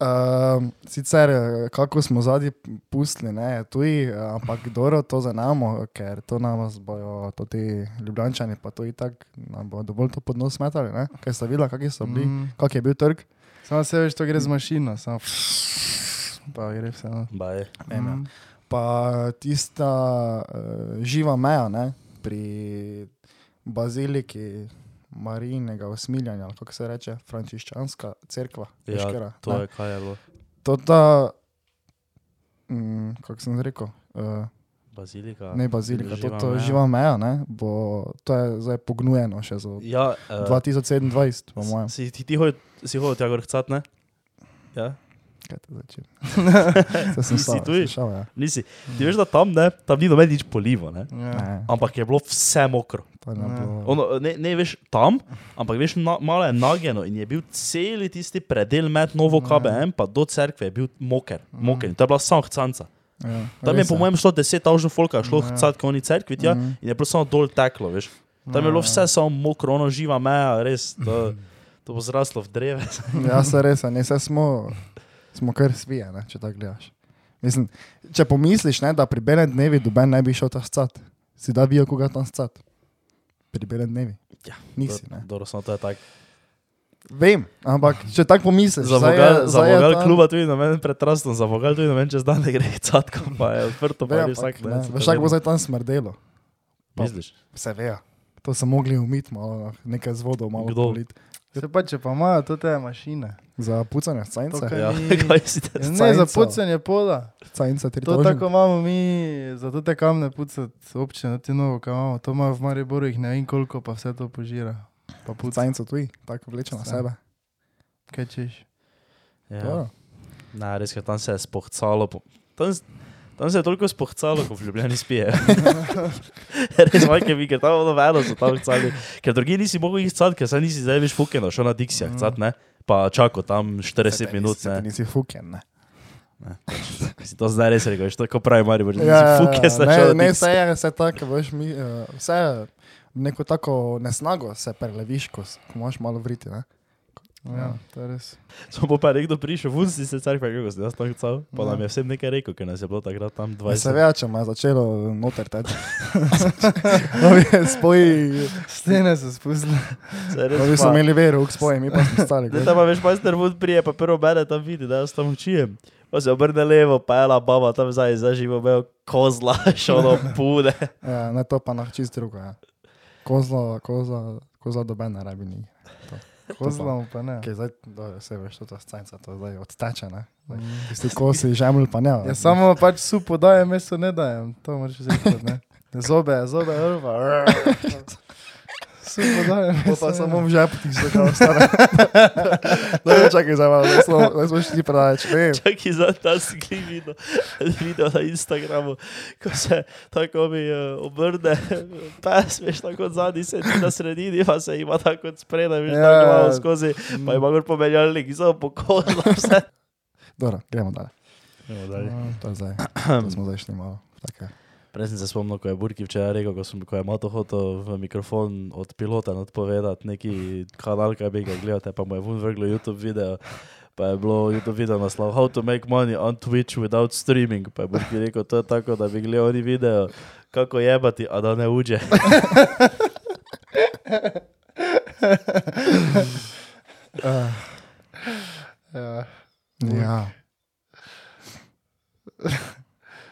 Speaker 2: Um, sicer, eh, kako smo zadnji pustili, ne, tuji, eh, ampak dobro to zanamo, ker to nam bojo to ti ljubljančani, pa to itak nam bo dovolj to pod nos metali, ne, ker sta videla, kakšni so bili, mm.
Speaker 3: Mm.
Speaker 2: kak je bil trg.
Speaker 3: Samo se veš, to gre z mašino, samo pa gre vse. No.
Speaker 1: Baj.
Speaker 2: Vem, ja. Pa tista uh, živa meja, ne, pri baziliki Marijinega usmiljanja, ali kako se reče, frančiščanska cerkva,
Speaker 1: Ja,
Speaker 2: Peškera,
Speaker 1: To je kaj je bilo.
Speaker 2: To, da, mm, kako sem rekel, uh,
Speaker 1: Bazilika.
Speaker 2: Ne, bazilika, to,
Speaker 1: Živa
Speaker 2: to
Speaker 1: meja.
Speaker 2: živa meja, ne, bo, to je zdaj pognujeno še za
Speaker 1: Ja, eh,
Speaker 2: 2027, po mojem.
Speaker 1: Si ti, ti hodil, si hodil tja gor hcat, ne? Ja,
Speaker 2: Kaj te začne? To sem
Speaker 1: Nisi
Speaker 2: slišal,
Speaker 1: tuj?
Speaker 2: slišal, ja.
Speaker 1: nisi. Ti veš, da tam, ne, tam ni noben nič polivo, ne?
Speaker 3: Ja.
Speaker 2: Ne,
Speaker 1: Ampak je bilo vse mokro.
Speaker 2: to je ne
Speaker 3: Ne.
Speaker 2: bilo.
Speaker 1: Ono, ne, ne veš tam, ampak veš, na, malo je nageno in je bil cel tisti predel med Novo
Speaker 2: Ja.
Speaker 1: KBM, pa do cerkve je bil moker, moker. In to je bila samo hcanca.
Speaker 2: Ja,
Speaker 1: Tam je
Speaker 2: Mm. res
Speaker 1: po mojem šlo 10.000 folka, je šlo
Speaker 3: Ja.
Speaker 1: hcat, ko oni cerkvi tja
Speaker 2: Mhm.
Speaker 1: in je bilo samo dol teklo, veš. Tam je
Speaker 2: Ja,
Speaker 1: bilo vse samo mokro, ono živa meja, res.
Speaker 2: Mm.
Speaker 1: To, to bo zraslo v dreve.
Speaker 2: Ja, se res, a ne se smo, smo kar svije, ne, če tako gledaš. Mislim, če pomisliš, ne, da pri belem dnevi doben ne bi šel ta scat, si da bi koga tam scat. Pri belem dnevi.
Speaker 1: Ja,
Speaker 2: Nisi, ne.
Speaker 1: Dobro, samo to je tako.
Speaker 2: Vem, ampak če tako pomisliš,
Speaker 1: Za
Speaker 2: zdaj je-
Speaker 1: vogal, za
Speaker 2: zdaj je
Speaker 1: vogal
Speaker 2: tam-
Speaker 1: kluba tudi na meni pretrasno, za vogal tudi na meni čez dan ne gre hcat, pa je odprto, pa
Speaker 2: Ve,
Speaker 1: je
Speaker 2: ampak,
Speaker 1: vsak
Speaker 2: Ja, ne,
Speaker 1: dan.
Speaker 2: Veš, tako bo zdaj tam smrdelo. pa-
Speaker 1: Misliš?
Speaker 2: Se ve, ja. to so mogli umiti, malo, nekaj z vodo, malo
Speaker 1: Kdo?
Speaker 2: polit.
Speaker 3: Se pa če pa imajo to te mašine.
Speaker 2: Za pucanje cajnca,
Speaker 3: Tukaj.
Speaker 2: okay.
Speaker 1: Ja,
Speaker 3: ni-
Speaker 1: kaj si te?
Speaker 3: Ja, Ne,
Speaker 2: Cajnco.
Speaker 3: za pucanje poda.
Speaker 2: cajnca tri
Speaker 3: To tako
Speaker 2: tožen.
Speaker 3: imamo mi, zato te kamne pucati občine, ti novo, kaj imamo. To ima v Mariboru, jih ne vem koliko, pa vse to požira. Pa pucaj,
Speaker 2: Cajnca tuji, tako vleče na
Speaker 3: Saj.
Speaker 2: sebe.
Speaker 3: kaj češ.
Speaker 1: Ja.
Speaker 2: Ja.
Speaker 1: Ne, res, ker tam se je spohcalo. Po... Tam, s- tam se je toliko spohcalo, kot v Ljubljani spije. res majke mi, ker tam ono vedno so tam hcali. Ker drugi nisi mogel jih hcati, ker saj nisi zdaj več fukeno, šel na Dixija hcat, ne? Pa čakal tam 40 minut,
Speaker 2: Se te
Speaker 1: ne?
Speaker 2: Mhm. nisi fuken, ne.
Speaker 1: Si to zdaj res rekel, veš, tako pravi Maribor, da si
Speaker 2: Ja,
Speaker 1: fuken, sem šel na
Speaker 2: ne, ne,
Speaker 1: Dixija.
Speaker 2: vse je, vse tako, veš, mi, eh, vse je neko tako nesnago se preleviš, ko, s- ko imaš malo vriti, ne.
Speaker 3: Ja, to je res.
Speaker 1: Smo pa, pa nekdo prišel, vun si se carkva, kako si nas tam hcal, pa nam je vsem nekaj rekel, ker nas je bilo takrat tam
Speaker 2: Ja, Se
Speaker 1: 20.
Speaker 2: ve, če me je začelo noter teči. no, je spoji,
Speaker 3: Stene se spustile.
Speaker 1: Se res
Speaker 2: no, vi
Speaker 1: pa-
Speaker 2: smo imeli vero, spoji, mi pa smo stali.
Speaker 1: Da tam pa veš, majster vod prije, pa prvo mene tam vidi, da jaz tam učijem. Pa se obrne levo, pa je la baba tam zdaj zaživo, imel kozla, šolo pude.
Speaker 2: Ja, ne to pa na čist drugo. Ja. Kozla, kozla, kozla doben ne rabi ni.
Speaker 3: Kozlamo pa ne.
Speaker 2: Okay, zdaj, do, se veš, to je scenca, to zdaj odteče. ne. Zdaj,
Speaker 3: Mhm.
Speaker 2: Tisti kosi žemlj pa ne.
Speaker 3: Ja, samo pač su podajem, meso ne dajem. To moraš vzeti kot ne. Zobe, zobe, rva. Su podajem.
Speaker 2: To pa samo v žepu ti se kao stane. Ne, ne, No, ja, čakaj, zdaj malo, zdaj smo- zdaj smo šli preveč. Ne,
Speaker 1: Čak in za ta skli videl, videl na Instagramu, ko se tako mi eh, obrne, pes veš tako od zadnji sedi na sredini, pa se ima tako od spredaj, veš,
Speaker 3: Ja,
Speaker 1: tako malo skozi, pa ima gor pomenjalnik, in samo pokozla vse.
Speaker 2: Dobro, gremo dalje. No, To je zdaj. To smo zdaj šli malo. v Take.
Speaker 1: Prej sem se spomnil, ko je Burki včeraj rekel, ko, sem, ko je Mato hotel v mikrofon od pilota odpovedati neki kanal, kaj bi ga gledal, pa mu je vun vrglo YouTube video. Pa je bilo YouTube video naslov How to make money on Twitch without streaming. Pa je Burki rekel, to je tako, da bi gledal oni video, kako jebati, a da ne uđe.
Speaker 3: Ja.
Speaker 2: Ja,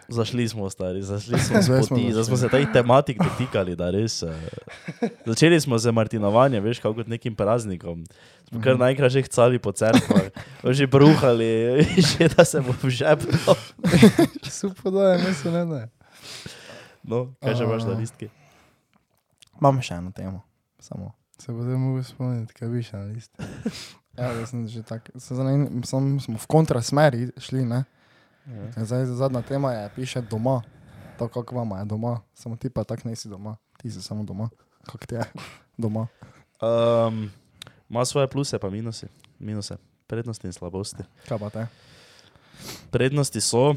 Speaker 1: Zašli smo, stari, zašli smo
Speaker 2: Zdaj
Speaker 1: s
Speaker 2: smo
Speaker 1: poti, zdaj smo se teh tematik dotikali, da res. eh, Začeli smo z martinovanjem, veš, kako kot nekim praznikom. Smo
Speaker 2: Mhm.
Speaker 1: kar naenkrat že hcali po cerkvah, že bruhali, že da se bo žepno.
Speaker 3: Su podajem, meso ne dajem.
Speaker 1: No, kaj že imaš na listki?
Speaker 2: imam še eno temo. Samo.
Speaker 3: Se bo zdaj mogel spomniti, kaj bi še na listi.
Speaker 2: Ja, jaz sem že tako, se zanimam, sam smo v kontrasmeri šli, ne? Ja. Zdaj zadnja tema je, piše doma, tako kako vama je doma, samo ti pa tako nisi doma, ti si samo doma, kako ti je doma.
Speaker 1: Um, ima svoje pluse, pa minuse. minuse. Prednosti in slabosti.
Speaker 2: Kaj pa te?
Speaker 1: Prednosti so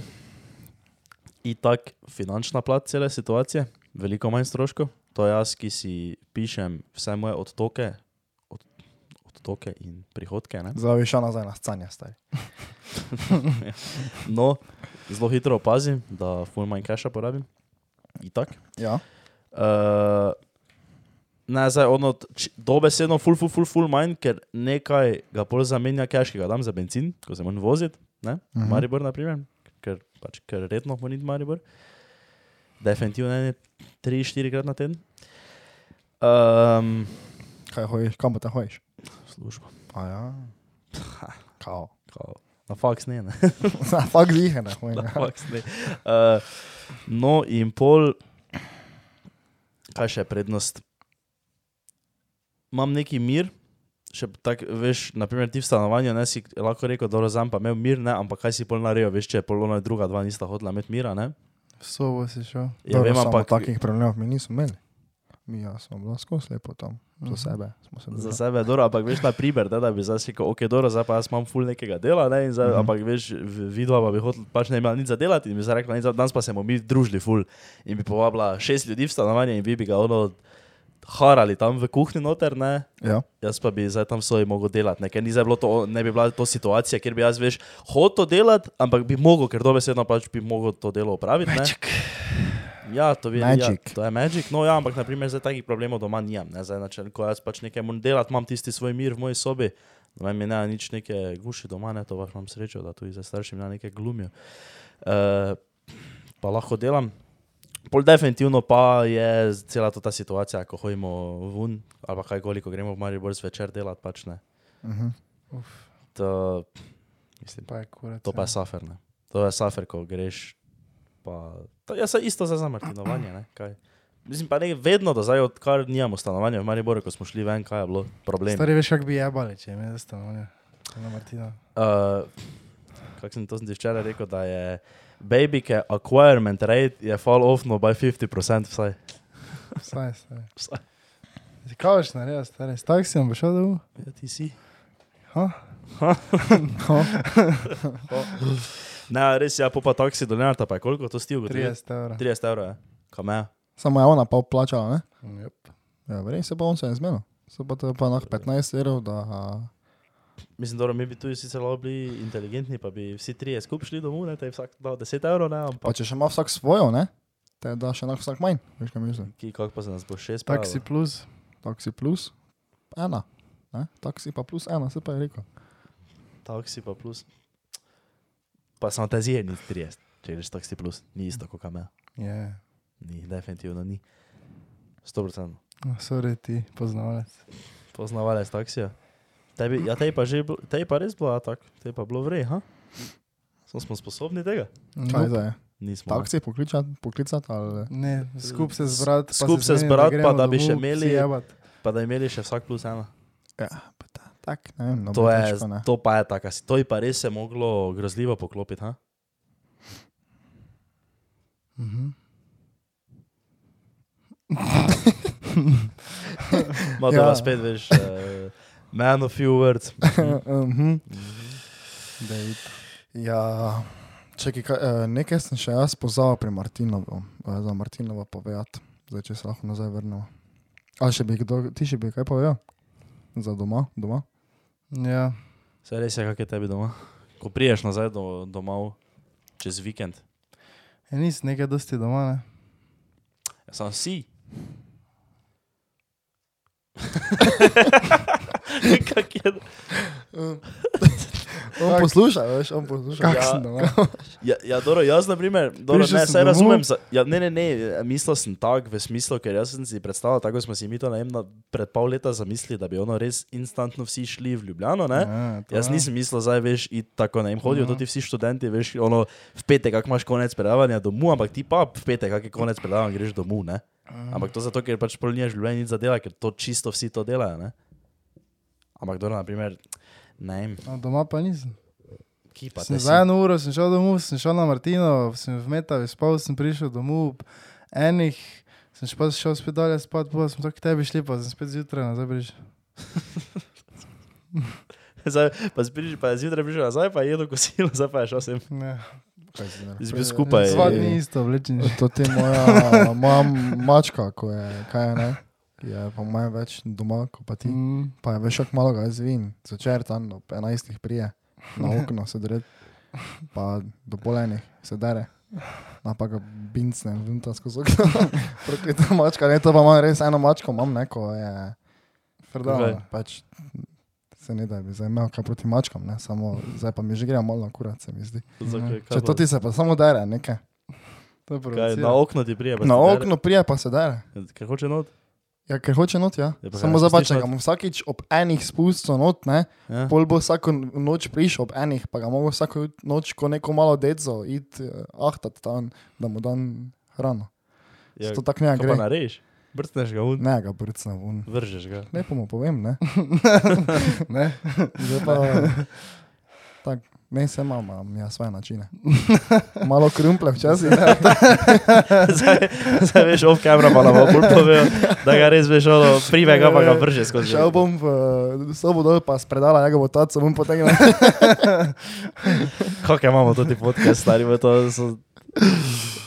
Speaker 1: itak finančna plat cele situacije, veliko manj stroškov. To jaz, ki si pišem vse moje odtoke, od, odtoke in prihodke. Ne?
Speaker 2: Zdaj bi šel nazaj na scanje, stari.
Speaker 1: No, zelo hitro opazim, da ful manj keša porabim. Itak.
Speaker 2: Ja,
Speaker 1: Uh, ne, zdaj ono, t- č- dobesedno, ful, ful, ful, ful manj, ker nekaj ga bolj zamenja cache, ki ga dam za benzin, ko se moram voziti, ne, uh
Speaker 2: Mhm.
Speaker 1: -huh. Maribor, naprimer, ker, pač, ker redno moram iti v Maribor. Definitivno ne, tri, štiri krat na teden. Um,
Speaker 2: kaj hojiš, kam pa te hojiš?
Speaker 1: služba.
Speaker 2: A ja. Kao.
Speaker 1: Kao. Na faks ne, ne.
Speaker 2: Na fakt zihe, ne hojem.
Speaker 1: Na faks ne. Uh, no in pol, kaj še je prednost? Imam neki mir, še tako, veš, naprimer ti v stanovanju, ne si lahko rekel, dobro, zam pa imel mir, ne, ampak kaj si pol naredil, veš, če je pol ona druga dva nista hodila med mira, ne?
Speaker 3: V sobo si šel.
Speaker 1: Ja, vem, ampak
Speaker 2: Takih problemov mi nismo imeli. Mi ja, smo bili skozi lepo tam, za sebe. smo se
Speaker 1: Mhm. Za
Speaker 2: držali.
Speaker 1: sebe je dobro, ampak veš, na primer, da, da bi zdaj rekel, ok, dobro, zdaj pa jaz imam ful nekega dela, ne, in zdaj, mm -hmm. ampak veš, v- vidva pa bi hotel, pač ne imela nič za delati in bi zdaj rekla, "Nič za- danes pa se bomo mi družili ful in bi povabila šest ljudi v stanovanje in vi bi ga ono harali tam v kuhinji noter, ne,
Speaker 2: Ja.
Speaker 1: jaz pa bi zdaj tam svoj mogel delati, ne, ker ni zdaj bilo to, ne bi bila to situacija, kjer bi jaz, veš, hotel delati, ampak bi mogel, ker dobesedno pač bi mogel to delo opraviti, ne. Ja, to, bi, ja,
Speaker 2: Magic.
Speaker 1: to je magic. No, ja, ampak naprimer, zdaj takih problemov doma nimam. ne. Zdaj, Znači, ko jaz pač nekaj moram delati, imam tisti svoj mir v moji sobi. Doma mi ne nič neke guši doma, ne to pač imam srečo, da tudi za staršem ne nekaj glumijo. Uh, pa lahko delam. Pol definitivno pa je cela ta situacija, ko hojimo ven ali pa kaj koliko gremo v Maribor zvečer delati, pač ne.
Speaker 2: Mhm.
Speaker 1: To, mislim,
Speaker 3: Pa je kurat.
Speaker 1: to pa je
Speaker 3: ja.
Speaker 1: safer, ne. To je safer, ko greš. Pa, to je saj isto za zamrtinovanje, ne. Kaj? Mislim pa ne vedno, da zdaj odkar nimamo stanovanja v Mariboru, ko smo šli ven, kaj je bilo problem.
Speaker 3: Stari veš, kako bi jebali, če me zastanovanja. Na Martina.
Speaker 1: Uh, Kako sem to sem ti včeraj rekel, da je babyke acquirement rate je fall off no by 50% vsaj.
Speaker 3: Vsaj, stari.
Speaker 1: Vsaj.
Speaker 3: Kaj boš naredil, stari? S taksijem boš šel dol?
Speaker 1: Ja, ti si.
Speaker 3: Ha?
Speaker 1: Ne, res je, ja, pol pa taksi do Lenarta, pa je koliko to stigo?
Speaker 3: 30 evrov.
Speaker 1: 30 evrov, ja. Kameja.
Speaker 2: Samo je ona pa plačala, ne?
Speaker 3: Yep.
Speaker 2: Ja, verjetno se pa on se je zmenil. Se pa to je pa nah 15 evrov, da... a,
Speaker 1: Mislim, da mi bi tu sicer lahko bili inteligentni, pa bi vsi trije skupaj šli domov, ne, te vsak dal 10 evrov, ne, ampak...
Speaker 2: Pa če še ima vsak svojo, ne? Te da še nah vsak manj, veš kaj mislim.
Speaker 1: Ki, kako pa se nas bo še spravilo?
Speaker 3: Taksi plus.
Speaker 2: Taksi plus ena, ne? Taksi pa plus ena, se pa je rekel.
Speaker 1: Taksi pa plus. Pa samo ta zir ni 30, če rečeš taksi plus, ni isto kot kamen.
Speaker 3: Yeah.
Speaker 1: Ni, definitivno ni. 100%.
Speaker 3: No, sorry ti, poznavalec.
Speaker 1: Poznavalec taksija. Tebi, ja, tej pa, že, bil- tej pa res bila tak, tej pa bilo vrej, ha? Smo, smo sposobni tega?
Speaker 2: Kaj zdaj je?
Speaker 1: Nismo. no. ne.
Speaker 2: Taksi pokličati, poklicati ali...
Speaker 3: Ne, skup se zbrat, pa
Speaker 1: Skup se
Speaker 3: zmenit,
Speaker 1: zbrat, pa
Speaker 3: gremo
Speaker 1: da bi
Speaker 3: domov,
Speaker 1: še
Speaker 3: vsi
Speaker 1: imeli-
Speaker 3: jebat.
Speaker 1: Pa da imeli še vsak plus ena.
Speaker 2: Ja, pa ta, tak, ne vem, no
Speaker 1: To,
Speaker 2: bo
Speaker 1: je,
Speaker 2: težko, ne.
Speaker 1: to pa je tako, to je pa res se moglo grozljivo poklopiti, ha?
Speaker 3: Mhm.
Speaker 1: Ma to
Speaker 2: Ja.
Speaker 1: ja. spet veš, uh, man of few words.
Speaker 2: Mhm.
Speaker 3: Dejit.
Speaker 2: Ja, čekaj, kaj, eh, nekaj sem še jaz pozabil pri Martinovu, eh, za Martinova povedati, zdaj če se lahko nazaj vrnemo. A še bi kdo, ti še bi kaj povedal? Za doma, doma?
Speaker 3: Ja,
Speaker 1: Se res je, kak je tebi doma. Ko priješ nazaj do, domov čez vikend,
Speaker 3: ja nisi nekaj dosti doma, ne?
Speaker 1: ja, sam si. kak je?
Speaker 2: On
Speaker 3: Kak-
Speaker 2: posluša, veš, on posluša.
Speaker 1: Kak sem
Speaker 2: doma?
Speaker 1: Ja, ja dobro, jaz na primer, dobro,
Speaker 3: Prišel
Speaker 1: ne,
Speaker 3: sem
Speaker 1: se
Speaker 3: domov.
Speaker 1: razumem. Za, ja, ne, ne, ne, mislil sem tak v smislu, ker jaz sem si predstavljal, tako smo si mi to najem, pred pol leta zamislili, da bi ono res instantno vsi šli v Ljubljano, ne?
Speaker 3: Ja, to
Speaker 1: Jaz
Speaker 3: ja.
Speaker 1: nisem mislil, da veš, iti tako ne. Hodijo
Speaker 3: Ja.
Speaker 1: tudi vsi študenti, veš, ono, v petek, kak imaš konec predavanja domov, ampak ti pa v petek, kak je konec predavanja, greš domov. Ne? Ampak to zato, ker pač polnješ življenje za dela, ker to čisto vsi to delajo. Ne? Ampak dobro, na primer, ne vem,
Speaker 3: No, doma pa nisem.
Speaker 1: ki pa
Speaker 3: Sem
Speaker 1: te
Speaker 3: za
Speaker 1: si.
Speaker 3: eno uro sem šel domov, sem šel na Martino, sem v Metavi spal, sem prišel domov, ob enih, sem še pa šel spet dalje spat, pa sem tako k tebi šli, pa sem spet zjutraj nazaj prišel.
Speaker 1: Zdaj, pa si prišel, pa je zjutraj prišel nazaj, pa je jedel kosilo, zdaj pa je šel sem.
Speaker 3: Ne.
Speaker 2: Kaj si zdaj?
Speaker 1: Jaz bil skupaj. eh,
Speaker 3: Dva dni isto, vlečen.
Speaker 2: To ti je moja, moja mačka, ko je, kaj je, ne? Je po mojem več doma, kot pa ti.
Speaker 3: Mm.
Speaker 2: Pa je veš, kako malo ga zvin, začer tam do 11 prije, na okno se dre, pa do polenih se dere. No, pa ga bincne, vem, ta skozi okno. Prokleta mačka, ne, to pa imam res eno mačko, imam neko je.
Speaker 1: Kaj?
Speaker 2: Frdala, pač se ne da bi zdaj imel kaj proti mačkam, ne, samo zdaj pa mi že gre malo na kurat, se mi zdi. Če to ti se pa samo dere, nekaj.
Speaker 3: To je
Speaker 1: Kaj,
Speaker 3: prav.
Speaker 1: na okno ti prije. pa
Speaker 2: Na
Speaker 1: ti dere.
Speaker 2: okno prije pa se dere.
Speaker 1: Kaj hoče not?
Speaker 2: Ja, ker hoče not, ja.
Speaker 1: Ja, pa ga ne
Speaker 2: Samo za
Speaker 1: spustiš
Speaker 2: pač, ga
Speaker 1: not.
Speaker 2: bom vsakič ob enih spustil not, ne.
Speaker 1: Ja.
Speaker 2: Pol bo vsako noč prišel ob enih, pa ga mogo vsako jut- noč, ko neko malo deco, id eh, ahtat tam, da mu dan hrano.
Speaker 1: Ja,
Speaker 2: Ja, to tako ne
Speaker 1: kaj pa
Speaker 2: gre.
Speaker 1: narediš? Brcneš ga un,
Speaker 2: Ne, ga brcna vun.
Speaker 1: vržeš ga.
Speaker 2: Lepo mu povem, ne.
Speaker 3: Ne?
Speaker 2: Zdaj pa, tak, ne, se imam, imam ja svoje načine. Malo krumple včasih, ne.
Speaker 1: zdaj, zdaj veš, off kamera pa nam bolj povejo, da ga res veš, ono, prime ga pa ga vrže skozi.
Speaker 2: Šel bom v eh, sobo dol, pa spredala, ja ga bo taco, bom potegnil.
Speaker 1: Kakaj ja imamo tudi podcast, stari, bo to so...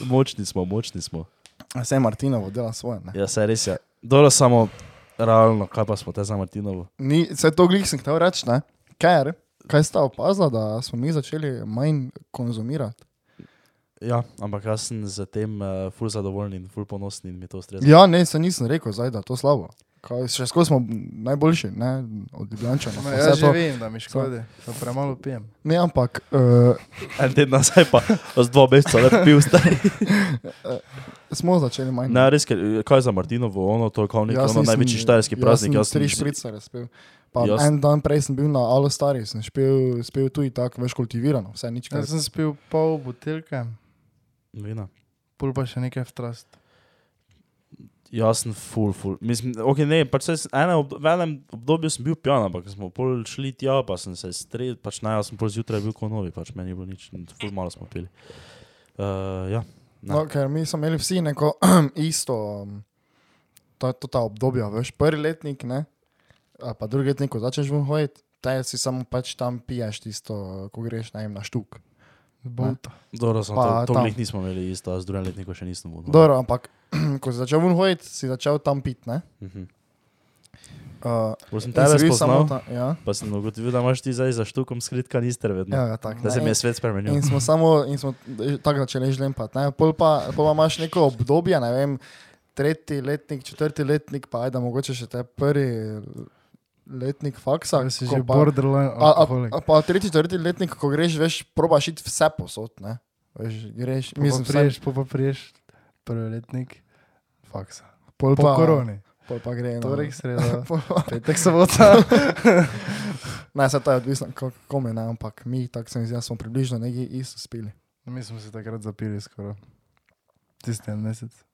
Speaker 1: Močni smo, močni smo.
Speaker 2: Vse Martinovo dela svoje, ne.
Speaker 1: Ja, se res je. Dobro, samo realno, kaj pa smo te za Martinovo?
Speaker 2: Ni, se to glih sem hotel reči, ne? Ker, kaj sta opazila, da smo mi začeli manj konzumirati?
Speaker 1: Ja, ampak jaz sem z tem uh, ful zadovoljen in ful ponosen in mi to ustreza.
Speaker 2: Ja, ne, se nisem rekel, zdaj da je to slabo. Kaj, še skozi smo najboljši, ne, od Ljubljančana.
Speaker 3: Ma,
Speaker 2: pa
Speaker 3: ja
Speaker 2: vse
Speaker 3: že
Speaker 2: to.
Speaker 3: vem, da mi škodi, da premalo pijem.
Speaker 2: Ne, ampak, uh,
Speaker 1: En teden nazaj pa z dva meseca le pil stari.
Speaker 2: smo začeli manj.
Speaker 1: Ne, res, ker, eh, kaj je za Martinovo, ono, to je kao nek ono, največji štajerski praznik.
Speaker 2: Jaz Ja sem tri
Speaker 1: z-
Speaker 2: šprice razpil. Pa
Speaker 1: Jaz-
Speaker 2: jaz... en dan prej sem bil na Alo Stari, sem špil, spil tu in tako, veš, kultivirano, vse nič
Speaker 1: Ja,
Speaker 2: kaj.
Speaker 3: Jaz sem spil pol butelke,
Speaker 1: Vina.
Speaker 3: pol pa še nekaj vtrast.
Speaker 1: Jaz sem full, full. Mislim, ok, ne, pač saj sem- ene ob, v enem obdobju sem bil pijan, ampak smo pol šli tja, pa sem se strel, pač naj, jaz sem pol zjutraj bil kot novi, pač meni ni bilo nič, in full malo smo pili. Uh, ja, ne.
Speaker 2: No, ker mi smo imeli vsi neko isto, um, to, to ta obdobja, veš, prvi letnik, ne, ali pa drugi letnik, ko začneš ven hoditi, te si samo pač tam piješ tisto, ko greš najem na štuk.
Speaker 3: Bolta.
Speaker 1: dobro, sem
Speaker 2: Pa
Speaker 1: to, to
Speaker 2: tam.
Speaker 1: glih nismo imeli isto, jaz drugem letniku še nisem bil. no.
Speaker 2: Dobro, ampak ko si začel ven hoditi, si začel tam pit, ne.
Speaker 1: Mhm.
Speaker 2: Uh,
Speaker 1: Pol sem
Speaker 2: in si
Speaker 1: tebe
Speaker 2: bil samo
Speaker 1: spoznal,
Speaker 2: ta- Ja,
Speaker 1: pa sem ugotovil, da imaš ti zdaj za štukom skrit kanister vedno.
Speaker 2: ja, ja tako.
Speaker 1: Da se
Speaker 2: ne,
Speaker 1: mi
Speaker 2: in-
Speaker 1: je svet spremenil.
Speaker 2: In smo samo in smo tako začeli žlempati. ne. Pol pa, pol pa imaš neko obdobje, ne vem, tretji letnik, četrti letnik, pa ajde, mogoče še te prvi letnik faksa.
Speaker 3: Tako si
Speaker 2: ko
Speaker 3: že
Speaker 2: pa- A,
Speaker 3: borderline
Speaker 2: a,
Speaker 3: alkoholik.
Speaker 2: a pa tretji, četrti letnik, ko greš, veš, probaš iti vse posod. Ne? Veš, greš,
Speaker 3: Pol pa
Speaker 2: mislim,
Speaker 3: priješ, pol pa priješ prvi letnik faksa.
Speaker 2: pol
Speaker 3: Po koroni.
Speaker 2: Pol pa gre. no.
Speaker 3: Torek, sreda,
Speaker 2: Pol pa-
Speaker 3: petek, sobota.
Speaker 2: ne, se to je odvisno, kako kome, ne, ampak mi, tako se mi zdi, da smo približno neki isto spili.
Speaker 3: Mi smo se takrat zapili skoraj. Tisti en mesec.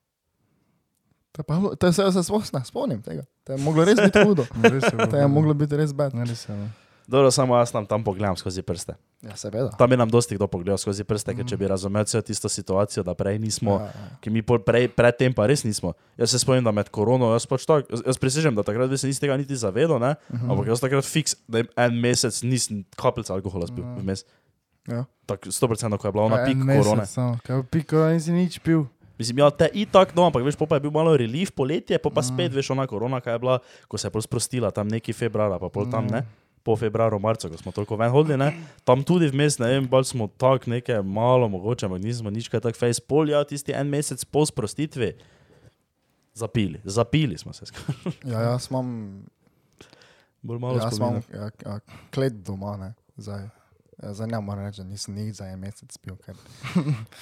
Speaker 2: To je, pa, bilo- to je vse, se sploh ne spomnim tega. To je moglo res biti hudo.
Speaker 3: Ne, res je bilo
Speaker 2: To je
Speaker 3: hudo.
Speaker 2: moglo biti res bed.
Speaker 3: Ne, res je. no.
Speaker 1: Dobro, samo jaz nam tam pogledam skozi prste.
Speaker 2: Ja, seveda.
Speaker 1: Tam je nam dosti kdo pogledal skozi prste, ker če
Speaker 3: Mhm.
Speaker 1: bi razumel celo tisto situacijo, da prej nismo.
Speaker 2: Ja, ja.
Speaker 1: ki mi pol prej, predtem pa res nismo. Jaz se spomnim, da med korono, jaz pač tako, jaz- jaz prisežem, da takrat se nisem tega niti zavedal, uh
Speaker 3: Mhm.
Speaker 1: -huh. ampak jaz takrat fiks, da jim en mesec nisem kapljica alkohola spil
Speaker 3: Ja.
Speaker 1: vmes.
Speaker 2: Ja.
Speaker 1: Tako 100% ko je bila
Speaker 3: Pa
Speaker 1: ona
Speaker 3: en
Speaker 1: pik
Speaker 3: mesec
Speaker 1: korone.
Speaker 3: Samo, kaj pik korone nisi nič pil.
Speaker 1: Mislim, ja, te itak, no, ampak veš, pol pa je bil malo relief poletje, pol
Speaker 2: Mm.
Speaker 1: pa spet, veš, ona korona, kaj je bila, ko se je pol sprostila, tam neki februar, pa pol tam,
Speaker 2: Mm.
Speaker 1: ne, po februaru, marcu, ko smo toliko ven hodili, ne, tam tudi vmes, ne vem, bolj smo tak nekaj malo mogoče, ampak nismo nič kaj tak face pol, ja, tisti en mesec po sprostitvi. Zapili, zapili smo se, skoraj.
Speaker 2: Ja, jaz imam,
Speaker 1: bolj malo
Speaker 2: jaz
Speaker 1: smo.
Speaker 2: imam ja, ja, klet doma, ne. Zdaj, ja, zdaj ne moram reči, da nisem nič za en mesec spil. Ker,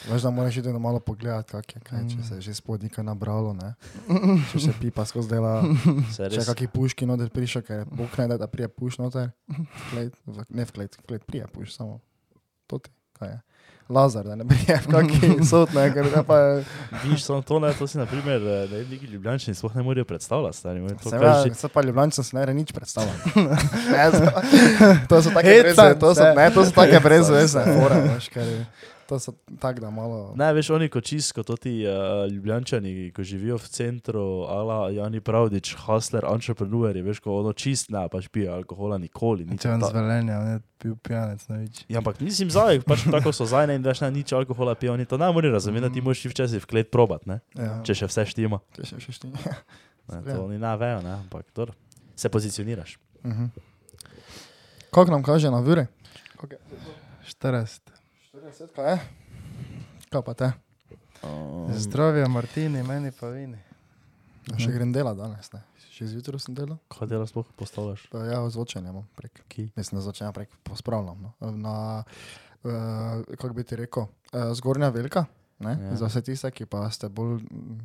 Speaker 2: veš, da moraš iti na malo pogledati, kak je, kaj, če se je že spodnika nabralo, ne. Če se pipa skozi dela, če kaki puški noter priša, ker bog ne da, da prije puš noter. Klet, v, ne v klet, v klet prije puš samo. To ti, kaj je. Lazar, da ne prije, v kaki sod, ne, ker ne pa je.
Speaker 1: Viš, samo to, ne, to si na primer, eh, ne, neki ljubljančani sploh ne morejo predstavljati, stari, moj, to
Speaker 2: Seveda,
Speaker 1: kaže.
Speaker 2: se pa ljubljancem se ne gre nič predstavljati. Ne, za- to so take
Speaker 3: Hecam
Speaker 2: brezve, to so,
Speaker 3: se.
Speaker 2: ne, to so take brezvezne fore, veš, kar je. To so tak, da malo...
Speaker 1: No. Ne, veš, oni kot čisto, to ti uh, ljubljani, ko živijo v centru, ala Jani Pravdič, hustler, entrepreneurji, veš, ko ono čist ne, pač pije alkohola nikoli. Nič,
Speaker 3: Nič on
Speaker 1: ta,
Speaker 3: zvelenja, on je bil pijanec, ne več.
Speaker 1: ja, ampak mislim, zaje, pač tako so zajne in veš, ne, nič alkohola pije, oni to ne morejo razumeti, da ti moraš iti včasih v klet probat, ne,
Speaker 2: Mhm. Ja,
Speaker 1: če še vse štima.
Speaker 2: če še še štim.
Speaker 1: Ne,
Speaker 2: Ja.
Speaker 1: to oni ne vejo, ne, ampak dobro. Se pozicioniraš.
Speaker 2: Mhm. Kako nam kaže na vire?
Speaker 3: 40.
Speaker 2: 40, kaj je? Kaj pa te?
Speaker 1: Mm.
Speaker 3: Zdravje, Martini, meni pa vini.
Speaker 2: Ja, Še grem dela danes, ne? Še zjutraj sem delal?
Speaker 1: Kaj dela sploh postavljaš?
Speaker 2: Pa Ja, zvočenje imam prek.
Speaker 1: Ki?
Speaker 2: Mislim, da zvočenje prek pospravljam. No. Na, eh, uh, kako bi ti rekel, uh, zgornja velika, ne?
Speaker 1: Ja.
Speaker 2: Ja. Za vse tiste, ki pa ste bolj mm,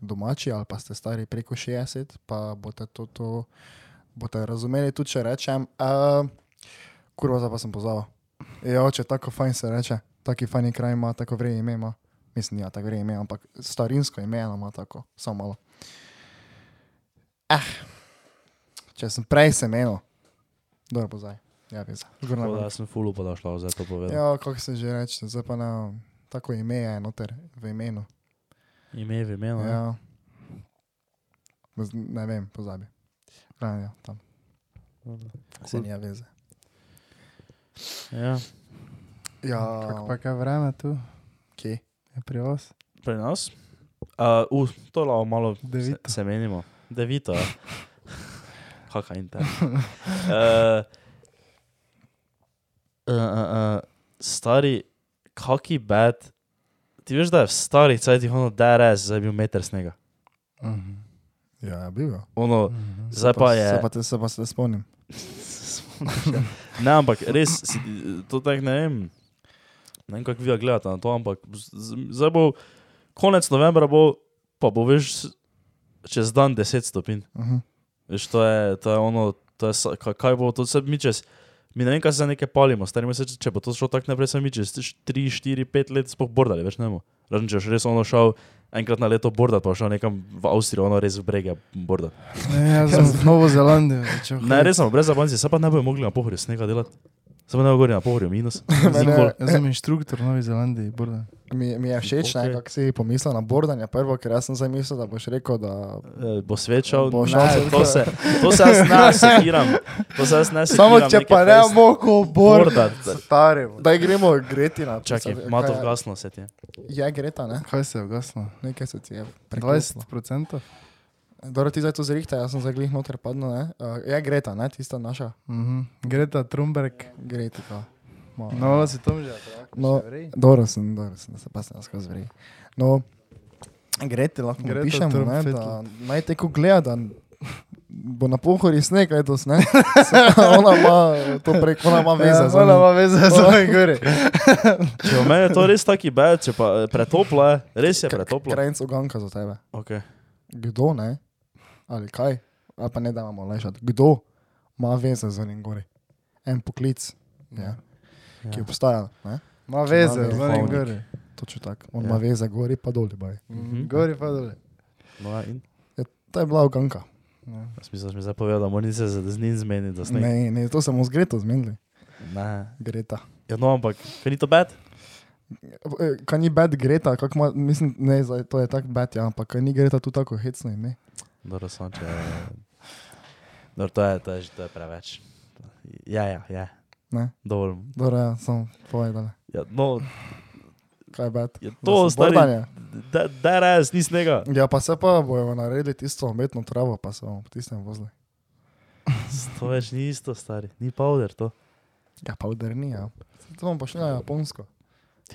Speaker 2: domači ali pa ste stari preko 60, pa boste to, to boste razumeli tudi, če rečem. Uh, kurva, zdaj pa sem pozabil. Ja, oče, tako fajn se reče, taki fajn kraj ima, tako vrej ime ima. Mislim, ja, tako vrej ime, ampak starinsko ime eno ima tako, samo malo. Eh, če sem prej sem eno, dobro pozaj. Ja, veš, gorna.
Speaker 1: Tako da sem fulu pa našla, zdaj to povedal.
Speaker 2: Ja, kako se že reče, zdaj pa na tako ime je noter v imenu.
Speaker 1: Ime v imenu. Ja.
Speaker 2: Ja. Z- Ne vem, pozabi. Glavno, ja, tam. Se
Speaker 1: Cool.
Speaker 2: nija veze.
Speaker 1: Ja.
Speaker 2: Ja,
Speaker 3: Kako pa kaj vreme tu,
Speaker 2: kje?
Speaker 3: je pri vas?
Speaker 1: Pri nas? Uh, uh, to lahko malo se,
Speaker 3: Devito.
Speaker 1: se menimo. Devito. ja. Haka in tam. Uh, uh, uh, stari, kaki bed. Ti veš, da je v starih cajtih ono DRS, zdaj je bil meter snega.
Speaker 2: Ja, je bil.
Speaker 1: Ono, zdaj pa je...
Speaker 2: Se Mhm. pa, te, se pa se spomnim.
Speaker 1: Ne, ampak res, si, to tako ne vem. Ne vem, kako vi gledate na to, ampak z- z- zdaj bo konec novembra, bo, pa bo veš s- čez dan 10 stopinj.
Speaker 2: Uh -huh.
Speaker 1: Veš, to je, to je ono, to je, sa- ka- kaj bo to, se mi čez. Mi ne vem, kaj se nekaj palimo, stari mi se, če bo to šlo tako naprej, se mi čez 3, 4, 5 let sploh bordali, več ne bomo. Razen če boš res ono šel enkrat na leto bordat, pa šel nekam v Avstrijo, ono res v brege bordat.
Speaker 3: Ne, jaz sem v Novo Zelandijo začel.
Speaker 1: Ne, res sem brez zabanci, se pa ne bojo mogli na pohorju snega delati. Se pa ne bojo gori na pohorju minus. Nikoli.
Speaker 3: Jaz sem inštruktor v Novi Zelandiji, borda.
Speaker 2: Mi, mi je všeč, okay.
Speaker 1: Okej.
Speaker 2: kako si pomislil na bordanje prvo, ker jaz sem zdaj mislil, da boš rekel, da...
Speaker 1: Eh, Bo svečal,
Speaker 2: Bo
Speaker 1: bo
Speaker 2: šel
Speaker 1: ne,
Speaker 2: se-
Speaker 1: to se, to se jaz ne sekiram, to se jaz ne sekiram.
Speaker 2: Samo če
Speaker 1: neke
Speaker 2: pa ne
Speaker 1: fejst-
Speaker 2: moko borda.
Speaker 1: bordat.
Speaker 2: Stari. Daj gremo greti na...
Speaker 1: Čakaj,
Speaker 2: Kaj
Speaker 1: mato
Speaker 2: je-
Speaker 1: vgasno se ti je.
Speaker 2: Je greta, ne?
Speaker 3: Kaj se je ugasno?
Speaker 2: Nekaj se ti je preklopilo.
Speaker 3: 20%?
Speaker 2: Dobro, ti zdaj to zrihtaj, jaz sem zdaj glih noter padel, ne? Uh, je Greta, ne? Tista naša
Speaker 3: Mhm. Greta Thunberg.
Speaker 2: Greta.
Speaker 3: No, ali si tam že?
Speaker 2: No, dobro sem, dobro sem, da se pa sem jaz skozi vrij. No, Greti lahko
Speaker 3: Greta
Speaker 2: pišemo, ne?
Speaker 3: Thunfetl.
Speaker 2: Da naj teko gleda, da bo na pohori sneg, letos, ne? ona ima to prek, ona ima veze. za
Speaker 3: Ja, Ona
Speaker 2: njim.
Speaker 3: ima veze za svoje gore.
Speaker 1: Če v meni je to res taki bed, če pa eh, pretoplo je, res je pretoplo.
Speaker 2: Krajnc oganka za tebe.
Speaker 1: Okay.
Speaker 2: Kdo, ne? Ali kaj? Ali pa ne da imamo lajšati. Kdo ima veze za njim gori? En poklic, ja, ki
Speaker 1: Ja.
Speaker 2: obstaja, ne?
Speaker 3: Ima veze
Speaker 2: Čudovit
Speaker 3: za svoje
Speaker 1: duhovnik.
Speaker 3: gore.
Speaker 2: Točno tako. On
Speaker 1: Ja.
Speaker 2: ima veze gori pa dol. Baj.
Speaker 1: Mhm.
Speaker 3: Gori pa dole.
Speaker 1: No, ja, in
Speaker 2: To je bila oganka.
Speaker 3: Ja.
Speaker 1: jaz mislim, da si mi zdaj povedal, da moram se z z njim zmeniti za sneg.
Speaker 2: Ne, ne, to smo z Greto zmenili.
Speaker 1: Ne.
Speaker 2: Greta.
Speaker 1: Ja, no, ampak, ker ni to bed,
Speaker 2: E, Kaj ni bed Greta, kako ima, mislim, ne, zdaj to je tako bed, ja, ampak kaj ni Greta tu tako hecno ime.
Speaker 1: dobro sonče. Dobro, to je, to je, to je preveč. Ja, ja, ja.
Speaker 2: Ne?
Speaker 1: Dovolj.
Speaker 2: Dobro, ja, sem povedal.
Speaker 1: Ja, no,
Speaker 2: Kaj je bed?
Speaker 1: ja,
Speaker 2: Da
Speaker 1: to
Speaker 2: so
Speaker 1: stari.
Speaker 2: bordanje.
Speaker 1: Da, da res ni snega.
Speaker 2: Ja, pa se pa bojo naredili tisto umetno travo, pa se bomo po tistem vozili.
Speaker 1: To več ni isto, stari, ni powder to.
Speaker 2: Ja, pa udrni, ja. Saj To bomo pašli na Japonsko.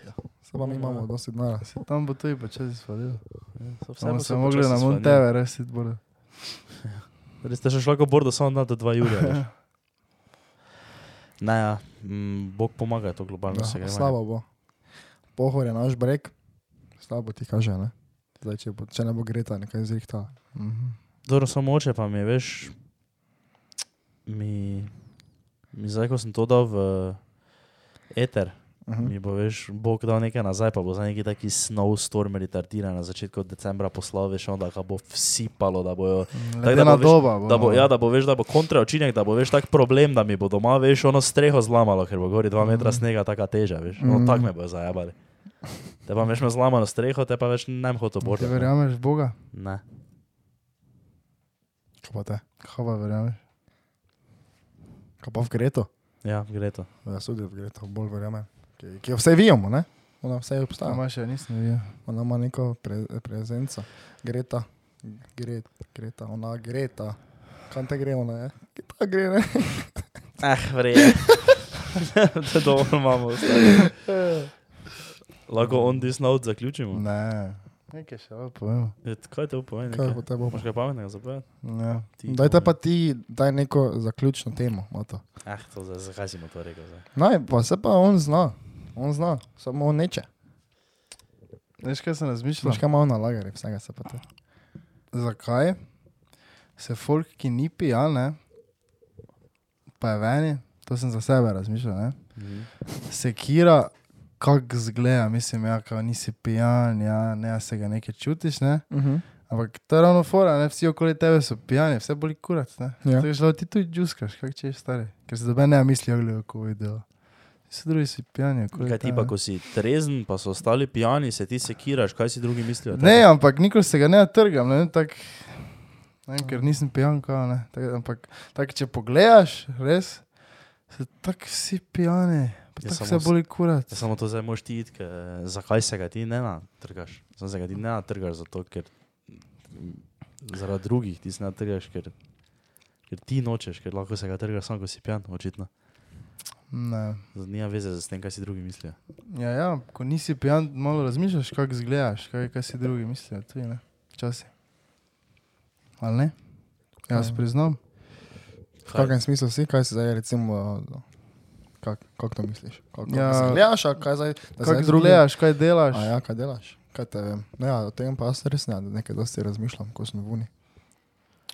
Speaker 1: Ja.
Speaker 2: Se pa mi imamo dosti denara.
Speaker 3: Se tam bo tudi počasi svalil.
Speaker 1: Ja, So Vse
Speaker 3: Samo
Speaker 1: bo
Speaker 3: se
Speaker 1: se
Speaker 3: mogli
Speaker 1: počasi
Speaker 3: na
Speaker 1: spanil.
Speaker 3: Monteve rešiti, borda.
Speaker 1: Res ste še šlo kot bordo, samo na do 2 julija. veš. ne, ja, mm, Bog pomaga, to globalno se
Speaker 2: Ja,
Speaker 1: gre.
Speaker 2: slabo bo. Pohor je naš breg, slabo ti kaže, ne? Zdaj, če, bo, če ne bo Greta, nekaj zrihta.
Speaker 3: Mhm.
Speaker 1: Dobro, samo oče pa mi, je, veš, mi, mi zdaj, ko sem to dal v eter,
Speaker 2: Uh
Speaker 1: mi bo, veš, Bog dal nekaj nazaj, pa bo za neki taki snowstorm retardiran na začetku decembra poslal, veš, onda ga bo vsipalo, da bojo
Speaker 3: Ledena
Speaker 1: bo veš-
Speaker 3: doba.
Speaker 1: Da bo,
Speaker 3: no.
Speaker 1: ja, da bo veš, da bo kontra učinek, da bo veš tak problem, da mi bo doma veš ono streho zlamalo, ker bo gori dva metra snega, taka teža, veš. No,
Speaker 2: Mhm.
Speaker 1: tak me bojo zajabali. Te pa veš me zlamano streho, te pa veš ne bi hotel
Speaker 3: Ti
Speaker 1: boriti.
Speaker 3: verjameš v Boga?
Speaker 1: Ne.
Speaker 2: Kaj pa te?
Speaker 3: Kaj pa verjameš?
Speaker 2: Kaj pa v Greto?
Speaker 1: Ja, gre to.
Speaker 2: Ja, sodi v Greto, bolj verjamem. Ki, ki jo vse vijamo, ne? Ona vse
Speaker 3: Ta
Speaker 2: obstaja.
Speaker 3: ima še nisem videl.
Speaker 2: Ona ima neko pre, prezenco. Greta, Gret, Greta, ona Greta. Kam te gre ona, je? Kje ta gre, ne?
Speaker 1: Eh, verjame. to dobro imamo. stari. Lahko on this note zaključimo.
Speaker 3: Ne. Nekaj še lahko povemo.
Speaker 1: Je, Kaj te upove?
Speaker 2: Kaj bo te bo?
Speaker 1: Moš kaj pametnega zapovedati?
Speaker 3: Ja.
Speaker 1: Ti,
Speaker 2: Dajte
Speaker 1: Bože.
Speaker 2: pa ti, daj neko zaključno temo, Mato.
Speaker 1: Eh, to zdaj, zakaj si mu to rekel zdaj?
Speaker 2: Naj, pa se pa on zna, on zna, samo on neče.
Speaker 3: Veš, kaj sem razmišljal?
Speaker 2: Znaš, kaj ima on na lagerju, vsega se pa to.
Speaker 3: zakaj se folk, ki ni pijan, ne, pa je veni, to sem za sebe razmišljal, ne,
Speaker 2: Mhm.
Speaker 3: sekira, kak zgleda, mislim, ja, kao nisi pijan, ja, ne, a se ga nekaj čutiš, ne,
Speaker 2: Uh -huh.
Speaker 3: ampak to je ravno fora, ne, vsi okoli tebe so pijani, vse boli kurac, ne.
Speaker 2: Ja.
Speaker 3: Tako šlo ti tudi džuskaš, kak češ stari, ker se dobe ne misli, ja, ogleda, ko video. Vsi drugi so pijani, okoli
Speaker 1: Kaj ti
Speaker 3: tebe,
Speaker 1: pa,
Speaker 3: ne.
Speaker 1: ko si trezen, pa so ostali pijani, se ti sekiraš, kaj si drugi mislijo? o tebi?
Speaker 3: Ne, ja. ampak nikoli se ga ne trgam, ne, tak, ne vem, ker nisem pijan, kao, ne, tak, ampak tak, če pogledaš, res, so tako vsi pijani,
Speaker 1: Ja,
Speaker 3: pa tako se
Speaker 1: samo s-
Speaker 3: boli kurat.
Speaker 1: Ja, samo to zdaj moš ti iti, ke, zakaj se ga ti ne natrgaš. Samo se ga ti ne natrgaš, zato ker zaradi drugih ti se ne natrgaš, ker, ker ti nočeš, ker lahko se ga trgaš samo, ko si pijan, očitno.
Speaker 3: Ne.
Speaker 1: Nima veze s tem, kaj si drugi mislijo.
Speaker 3: Ja, ja, ko nisi pijan, malo razmišljaš, kako izgledaš, kaj, kaj si drugi mislijo, tudi ne, včasih. Ali ne? Jaz
Speaker 2: Ja.
Speaker 3: priznam.
Speaker 2: V kakem smislu si, kaj si zdaj, recimo, kako kak to misliš? Kako
Speaker 3: Ja.
Speaker 2: ja, gledaš, a kaj zdaj? da zdaj
Speaker 3: Kako
Speaker 2: drugi-
Speaker 3: izgledaš, kaj delaš.
Speaker 2: A ja, kaj delaš? Kaj te vem? No ja, o tem pa jaz res ne, nekaj dosti razmišljam, ko sem v uni.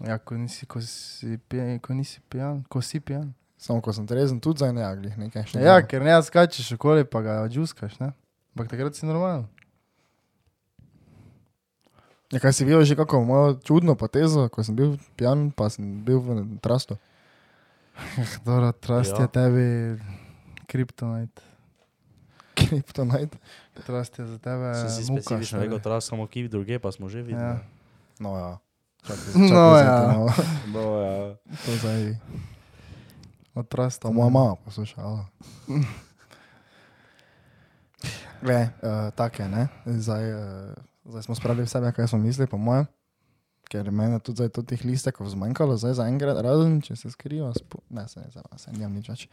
Speaker 3: Ja, ko nisi, ko si pijan, ko nisi pijan, ko si pijan.
Speaker 2: Samo ko sem trezen, tudi za ne, glih nekaj še.
Speaker 3: Ja,
Speaker 2: delam.
Speaker 3: ker ne skačeš okoli, pa ga odžuskaš, ne? Ampak takrat si normalen.
Speaker 2: ja, kaj si videl že kako mojo čudno potezo, ko sem bil pijan, pa sem bil v trastu.
Speaker 3: Dobro, trast
Speaker 1: Ja.
Speaker 3: je tebi kriptonite.
Speaker 2: Kryptonite.
Speaker 3: Trast je za tebe.
Speaker 1: Sem si
Speaker 3: muka,
Speaker 1: specifično
Speaker 3: stari.
Speaker 1: rekel, da samo kip, druge pa smo že videli.
Speaker 3: Ja.
Speaker 2: No ja. Čakaj,
Speaker 3: No,
Speaker 2: zdaj
Speaker 3: ja.
Speaker 2: to malo.
Speaker 1: No, ja.
Speaker 2: To zdaj,
Speaker 3: Od trasta.
Speaker 2: to moja mama poslušala. Gle, uh, take, ne? Zdaj, uh, zdaj smo spravili vse, kaj smo mislili, po mojem. Ker meni je tudi zdaj teh listekov zmanjkalo, zdaj za enkrat, razen če se skriva, spu... ne, se ne zavem, se nimam nič več.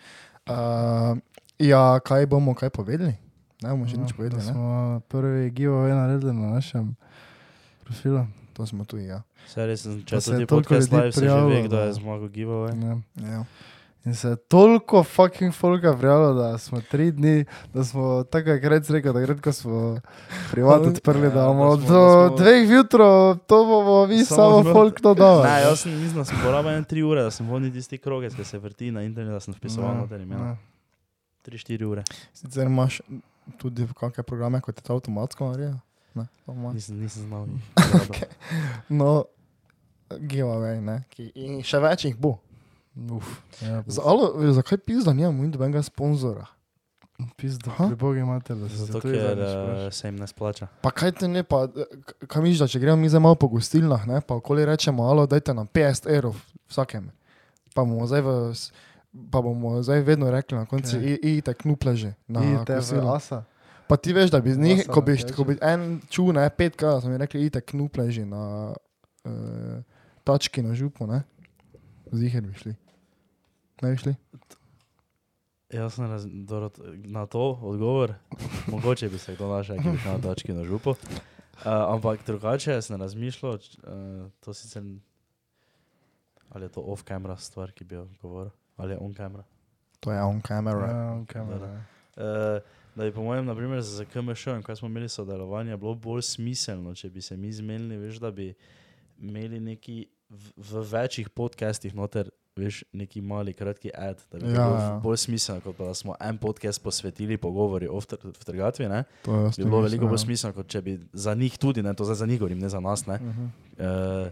Speaker 2: Uh, ja, kaj bomo kaj povedali? Ne bomo še nič
Speaker 3: No, da
Speaker 2: povedali, ne?
Speaker 3: Smo prvi giveaway naredili na našem profilu.
Speaker 2: To smo tu, ja.
Speaker 1: Vse res, sem- če
Speaker 3: Pa se
Speaker 1: se ti
Speaker 3: je toliko
Speaker 1: podcast
Speaker 3: ljudi
Speaker 1: live, se že
Speaker 3: prijavilo,
Speaker 1: ve, kdo
Speaker 3: da.
Speaker 1: je zmagal giveaway.
Speaker 3: Ja.
Speaker 2: ja.
Speaker 3: In se je toliko fucking folka prijavilo, da smo tri dni, da smo tako krat rekel, da gre, ko smo privat odprli,
Speaker 1: Ja,
Speaker 3: da bomo
Speaker 1: da smo- da
Speaker 3: do
Speaker 1: smo-
Speaker 3: dveh jutro, to bomo vi
Speaker 1: Samo
Speaker 3: samo
Speaker 1: not-
Speaker 3: folk to dali.
Speaker 1: Ne, jaz sem iznal, sem porabil en tri ure, da sem hodil tisti krogec, ki se vrti na internetu, da sem vpisoval
Speaker 3: Ne,
Speaker 1: noter imena.
Speaker 3: ne.
Speaker 1: Tri, štiri ure.
Speaker 2: Sicer imaš tudi kakšne programe, kot je to avtomatsko, ali ne? To imaš.
Speaker 1: Nisem, nisem znal.
Speaker 2: No, giveaway, ne? Ki, in še več jih bo.
Speaker 3: Uf, ja,
Speaker 2: Za, alo, eh, zakaj pizda nimamo in dobenega sponzora?
Speaker 3: Pizdo,
Speaker 2: Aha.
Speaker 3: pri Bogu imate, da se
Speaker 1: Zato,
Speaker 3: zato
Speaker 1: ker eh, se jim ne splača.
Speaker 2: Pa kaj te ne, pa eh, k- kaj misliš, da če gremo mi zdaj malo po gostilnah, ne, pa okoli rečemo, alo, dajte nam 50 evrov vsakem. Pa bomo zdaj, v, s- pa bomo zdaj vedno rekli na koncu,
Speaker 3: Kaj?
Speaker 2: okay. itek nupleže. Na
Speaker 3: Idite v
Speaker 2: kosilo.
Speaker 3: asa.
Speaker 2: Pa ti veš, da bi z njih,
Speaker 3: Masa
Speaker 2: ko bi,
Speaker 3: nateče.
Speaker 2: ko bi en čul, ne, petka, da smo mi rekli, itek nupleže na uh, tački na župu, ne, ziher bi šli. Ne bi šli?
Speaker 1: Jaz ne razumem, na to odgovor. Mogoče bi se kdo našel, ki bi šel na točki na župo. Uh, ampak drugače sem razmišljal, č- uh, to sicer. n- Ali je to off-camera stvar, ki bi jo govoril, ali je on-camera.
Speaker 2: To je on camera. Ja.
Speaker 3: Ja, on kamera,
Speaker 1: Da,
Speaker 3: ja.
Speaker 1: Uh, da bi, po mojem, naprimer, z KMŠ-om, kaj smo imeli sodelovanje, bilo bolj smiselno, če bi se mi zmenili, veš, da bi imeli neki v, v večjih podcestih noter. Veš, neki mali, kratki ad, da bi
Speaker 2: Ja,
Speaker 1: ja, bilo
Speaker 2: ja.
Speaker 1: bolj smiselno, kot pa da smo en podcast posvetili pogovori o vtr- v trgatvi. Ne?
Speaker 2: To je
Speaker 1: Bi bilo veliko bolj
Speaker 2: ja.
Speaker 1: smiselno, kot če bi za njih tudi, ne, to zdaj za njih govorim, ne za nas. Ne?
Speaker 2: Uh -huh.
Speaker 1: Eh,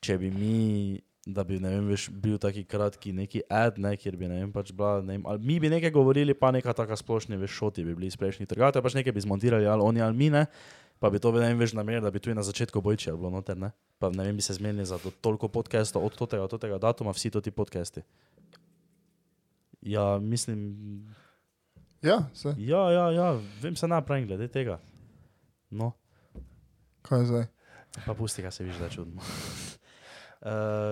Speaker 1: če bi mi, da bi ne vem, veš, bil taki kratki neki ad, ne, kjer bi ne vem, pač bila, ne vem, ali mi bi nekaj govorili, pa neka taka splošna, veš, šoti bi bili iz prejšnjih trgatov, pač nekaj bi zmontirali, ali oni ali mi ne, pa bi to, ne vem, veš, namer, da bi tu na začetku bojče bilo noter, ne, pa ne vem, bi se zmenili za to, toliko podcastov od tega, od tega datuma, vsi to ti podcasti. Ja, mislim,
Speaker 2: Ja, vse.
Speaker 1: ja, ja, ja vem se napravim glede tega. No.
Speaker 2: Kaj je zdaj?
Speaker 1: Pa pusti, kaj se viš, da čudimo. Uh,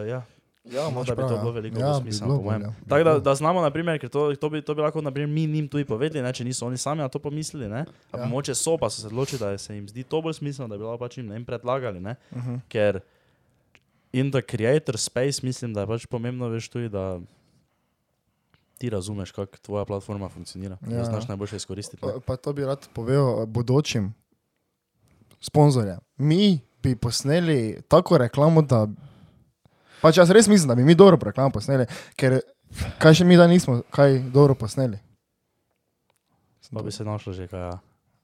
Speaker 1: ja.
Speaker 2: Ja,
Speaker 1: no, da bi to bilo veliko
Speaker 2: ja,
Speaker 1: bolj
Speaker 2: bi
Speaker 1: smiselno,
Speaker 2: bilo
Speaker 1: po mojem.
Speaker 2: bolje, bi
Speaker 1: Tako da,
Speaker 2: bilo.
Speaker 1: da znamo, naprimer, ker to, to, bi, to bi lahko naprimer, mi njim tudi povedali, ne, če niso oni sami na to pomislili. Ne?
Speaker 2: Ja.
Speaker 1: Ja. Moče so, pa so se odločili, da se jim zdi to bolj smiselno, da bi lahko pač jim ne vem, predlagali. Ne?
Speaker 2: Mhm.
Speaker 1: Ker in the creator space mislim, da je pač pomembno, veš tudi, da ti razumeš, kako tvoja platforma funkcionira.
Speaker 2: Ja,
Speaker 1: Ja. Znaš
Speaker 2: ja.
Speaker 1: najboljše izkoristiti. ne.
Speaker 2: Pa, pa to bi rad povedal eh, bodočim sponzorjem. Mi bi posneli tako reklamo, da. Pač jaz res mislim, da bi mi dobro reklamo posneli, ker kaj še mi da nismo, kaj dobro posneli.
Speaker 1: Pa bi se našlo že kaj. Ja.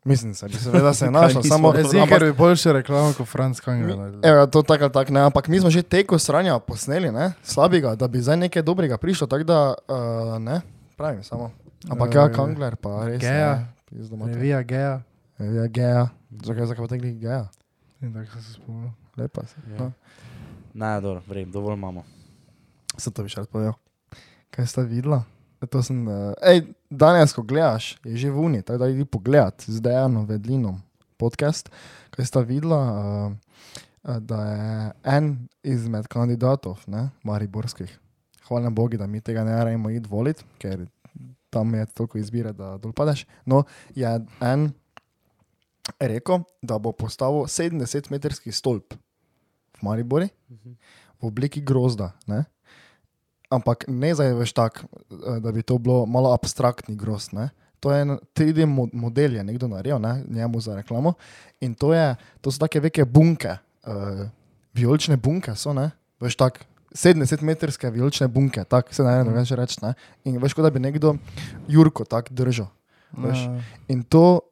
Speaker 2: Mislim, se, bi seveda se je našlo,
Speaker 1: Kaj
Speaker 2: samo
Speaker 1: nismo.
Speaker 2: ampak-
Speaker 3: Ziger bi boljše reklamo kot Franz Kangler.
Speaker 2: Evo, ja, to tako ali tako ne, ampak mi smo že teko sranja posneli, ne, slabega, da bi zdaj nekaj dobrega prišlo, tako da uh, ne, pravim samo. Ampak ja,
Speaker 1: Eh,
Speaker 3: Ja, ja.
Speaker 2: Kangler pa res.
Speaker 3: Geja.
Speaker 2: ne, pizdo mater.
Speaker 3: Revija Geja.
Speaker 2: Ja, geja. Zakaj, zakaj pa tako ni geja?
Speaker 3: In tako sem se spomnil.
Speaker 2: Lepa se.
Speaker 1: Ja.
Speaker 2: No.
Speaker 1: Ne, dobro, vrem, dovolj imamo.
Speaker 2: Se to bi še rad povedal. Kaj sta videla? E, To sem, uh, ej, danes, ko gledaš, je že vuni, tako da idi pogledat z Dejano Vedlinom podcast, kaj sta videla, uh, da je en izmed kandidatov, ne, mariborskih. Hvala Bogu, da mi tega ne rajmo id voliti, ker tam je toliko izbire, da dol padeš. No, je en rekel, da bo postavil 70-metrski stolp v Maribori v obliki grozda. Ne? Ampak ne zdaj veš tako, eh, da bi to bilo malo abstraktni grozd. Ne? To je en 3D mo- model, je nekdo naredil, ne? njemu za reklamo. In to, je, to so take velike bunke, uh, vijolične bunke so, ne? veš tako. 70-metrske vijolične bunke, tako se naj ne več reče. ne. In veš, kot da bi nekdo Jurko tako držal. Veš, In to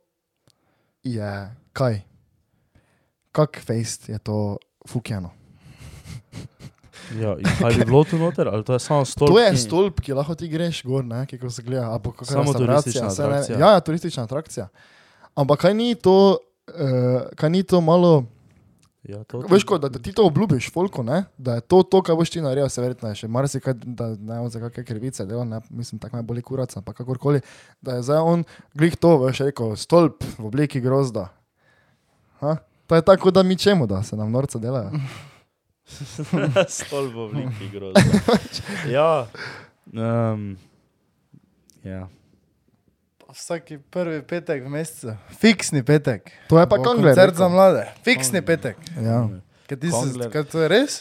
Speaker 2: je kaj? Kak fejst je to fukjeno?
Speaker 1: Ja, in kaj bi bilo tu noter, ali to je samo stolp?
Speaker 2: To je
Speaker 1: in-
Speaker 2: stolp, ki lahko ti greš gor, ne, kako se gleda. ali pa kakšna
Speaker 1: Samo
Speaker 2: restauracija,
Speaker 1: turistična
Speaker 2: saj ne-
Speaker 1: atrakcija.
Speaker 2: Ja, ja, turistična atrakcija. Ampak kaj ni to, uh, kaj ni to malo,
Speaker 1: Ja, to
Speaker 2: veš, kot da, da ti to obljubiš, folko, ne, da je to, to kar boš ti naredil, se verjetno je še marsikaj, da ne vem, za kakšne krivice dela, ne, mislim, tako me boli kurac, ampak kakorkoli, da je zdaj on glih to, veš, rekel, stolp v obliki grozda. Ha? To je tako, da mi čemu, da se nam norce delajo.
Speaker 1: Stolp v obliki grozda. Ja. Um, ja.
Speaker 3: Vsaki prvi petek v mesecu. Fiksni petek.
Speaker 2: To je pa
Speaker 3: Bo
Speaker 2: Kangler
Speaker 3: Koncert
Speaker 2: rekel.
Speaker 3: za mlade. Fiksni petek.
Speaker 2: Ja.
Speaker 3: Kaj ti se,
Speaker 1: Kangler.
Speaker 3: kaj to je res?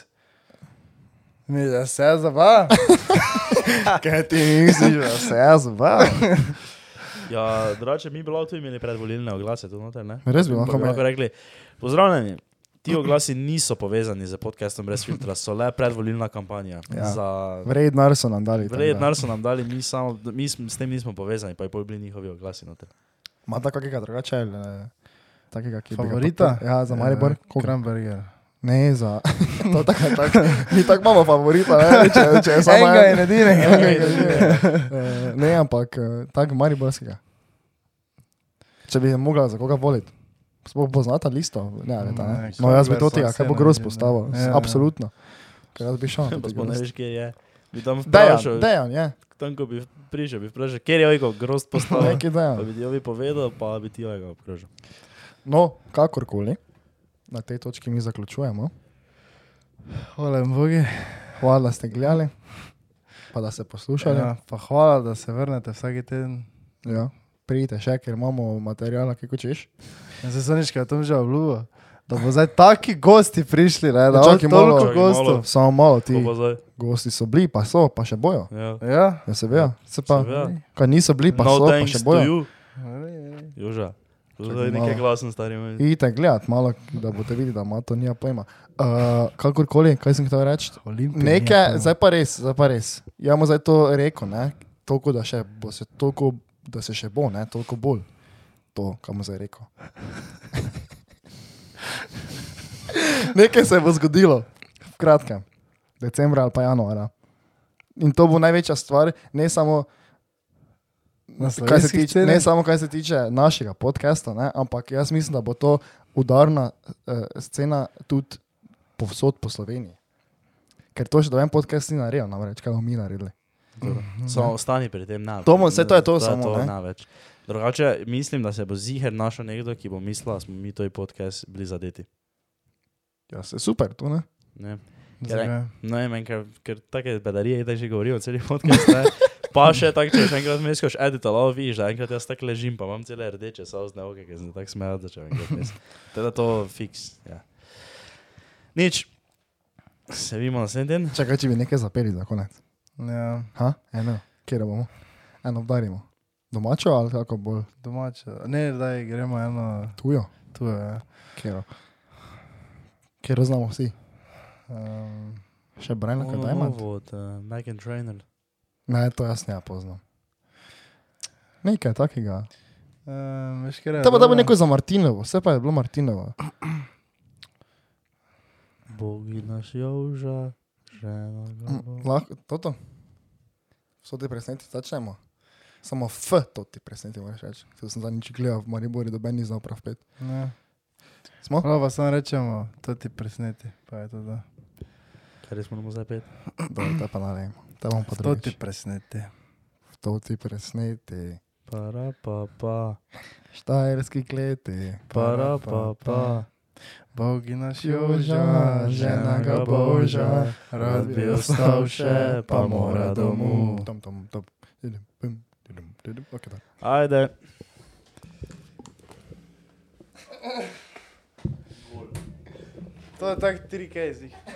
Speaker 3: Mi da se jaz zabavam.
Speaker 2: Kaj ti misliš, da se jaz zabava?
Speaker 1: Ja, drugače mi bi lahko tu imeli predvolilne oglase, tu noter, ne?
Speaker 2: Res bi
Speaker 1: Pa
Speaker 2: lahko
Speaker 1: bi
Speaker 2: imeli.
Speaker 1: lahko rekli, pozdravljeni. Ti oglasi niso povezani z podcastom brez filtra, so le predvolilna kampanja.
Speaker 2: Ja.
Speaker 1: Ja. Za
Speaker 2: Vred nar so nam dali.
Speaker 1: Vred, denar so nam dali, mi, samo, mi sm- s tem nismo povezani, pa je pol bili njihovi oglasi. Noter.
Speaker 2: Ima tako kakega drugače? ali, eh, Takega, ki bi ga
Speaker 3: Favorita?
Speaker 2: podprl? Ja, za Maribor. Koga?
Speaker 3: Kramberger.
Speaker 2: Ne, za... to tako, tako. Mi tako imamo favorita, ne, če, če je samo
Speaker 3: Enega
Speaker 2: en.
Speaker 3: in edinega.
Speaker 2: Enega in edinega. Eh, Ne, ampak eh, tako Mariborskega. Če bi mogla za koga voliti. Sploh poznata listo, ne, veta, ne.
Speaker 3: Ne,
Speaker 2: No, jaz bi to
Speaker 3: Kangler,
Speaker 2: tega,
Speaker 3: Mm, sva
Speaker 2: kaj bo
Speaker 3: scena,
Speaker 2: groz
Speaker 3: je, ne.
Speaker 2: postavil.
Speaker 3: Ja, ja.
Speaker 2: Absolutno. Ker jaz bi šel. na
Speaker 1: Pa
Speaker 2: to
Speaker 1: sploh ne
Speaker 2: grozd.
Speaker 1: veš, kje je. Bi tam vprašal,
Speaker 2: Dejan, dejan, je.
Speaker 1: tam ko bi prišel, bi vprašal, kje je ojko, grost postavljen.
Speaker 2: Neki
Speaker 1: Pa
Speaker 2: dejan.
Speaker 1: bi ti ovi povedal, pa bi ti ojko obkrožil.
Speaker 2: No, kakorkoli, na tej točki mi zaključujemo.
Speaker 3: Hvala jim bogi.
Speaker 2: Hvala, da ste gledali, pa da ste poslušali. Ja.
Speaker 3: Ja, pa hvala, da se vrnete vsaki teden.
Speaker 2: Ja. Pridite še, ker imamo materijala, ki kočeš.
Speaker 3: Jaz se Ja, sonička tam že obljubo. Da bo zdaj taki gosti prišli, ne, da
Speaker 2: Ja,
Speaker 3: bo
Speaker 2: čakaj malo.
Speaker 3: toliko
Speaker 1: Čakaj
Speaker 3: gostov.
Speaker 1: malo.
Speaker 2: Samo malo ti
Speaker 1: Ko pa zdaj?
Speaker 2: gosti so bili, pa so, pa še bojo.
Speaker 1: Ja.
Speaker 3: Ja.
Speaker 2: Ja, seveda, se pa,
Speaker 1: Seveda.
Speaker 2: kaj niso bili, pa
Speaker 1: no
Speaker 2: so, pa
Speaker 1: thanks
Speaker 2: še
Speaker 1: to
Speaker 2: bojo.
Speaker 1: you. Joža. To
Speaker 2: Čakaj
Speaker 1: je
Speaker 2: malo.
Speaker 1: nekaj glasen starim.
Speaker 2: Idite gledat malo, da boste videli, da ima to nija pojma. Uh, kakorkoli, kaj sem hotel reči?
Speaker 3: Olimpija.
Speaker 2: Nekaj, zdaj pa res, zdaj pa res. Jaz mu zdaj to rekel, ne? Toliko, da, še, bo se, toliko, da se še bo, ne? Toliko bolj. To, kar mu zdaj rekel. Nekaj se bo zgodilo, v kratkem, decembra ali pa januarja. In to bo največja stvar, ne samo,
Speaker 3: Na
Speaker 2: kaj se
Speaker 3: slovenskih
Speaker 2: tiče, ne
Speaker 3: cenah.
Speaker 2: samo kaj se tiče našega podcasta, ne? ampak jaz mislim, da bo to udarna uh, scena tudi povsod po Sloveniji. Ker to še doben podcast ni naredil, namreč kaj bomo mi naredili.
Speaker 1: Samo ostani pri tem, ne.
Speaker 2: To bo- Mhm. saj to je to samo,
Speaker 1: to,
Speaker 2: ne.
Speaker 1: ne več. Drugače, mislim, da se bo ziher našel nekdo, ki bo mislil, da smo mi to podcast bili zadeti.
Speaker 2: Ja, se super, to ne.
Speaker 1: Ne,
Speaker 3: Zakaj?
Speaker 1: ne vem, ker, ker take bedarije, da že govorijo, celi podcast. Ne. Pa še tako, če še enkrat misliš, edit, ali vidiš, da enkrat jaz tako ležim, pa imam cele rdeče, sauzne oči, ker sem tako smejal, da če enkrat mislim. Teda to fiks. Ja. Nič. Se vidimo naslednji teden.
Speaker 2: Čakaj, če bi nekaj zapeli za konec.
Speaker 3: Ja,
Speaker 2: Ha? Eno, kjer bomo? Eno obdarimo. Domačo ali kako bolj
Speaker 3: domače. Ne, da gremo eno
Speaker 2: tujo?
Speaker 3: tu. Ja.
Speaker 2: Kjero. ki jo znamo vsi. Ehm,
Speaker 3: Um,
Speaker 2: Še Brian, kaj da ima?
Speaker 1: Od uh, Megan Trainer.
Speaker 2: Ne, to jaz ne poznam. Nekaj takega.
Speaker 3: um, veš, kaj je?
Speaker 2: To pa da bo
Speaker 3: bilo?
Speaker 2: neko za Martinovo, vse pa je bilo Martinovo.
Speaker 1: Bogina Šjovža, žena. glava.
Speaker 2: Lahko, toto. So ti presneti, začnemo. Samo F, to ti presneti, moraš reči. To sem zadnjič gledal v Mariboru, doben ni znal prav pet.
Speaker 3: Ne.
Speaker 2: Smo?
Speaker 3: Prav pa samo rečemo, to ti presneti. Pa je to da.
Speaker 1: Kaj res moramo zdaj pet?
Speaker 2: Dobro, to pa ne vem. To bom pa
Speaker 3: To ti
Speaker 2: drugič.
Speaker 3: presneti.
Speaker 2: To ti presneti.
Speaker 1: Para pa pa,
Speaker 2: Štajerski kleti.
Speaker 1: para pa pa.
Speaker 3: Bogi naš
Speaker 2: Joža,
Speaker 3: joža, žena ga boža, rad bi ostal še, pa mora domov.
Speaker 2: Tam, tam, tam. Idem, bim, idem, idem. Okay, da.
Speaker 1: Ajde.
Speaker 3: To je tak 3K, zih.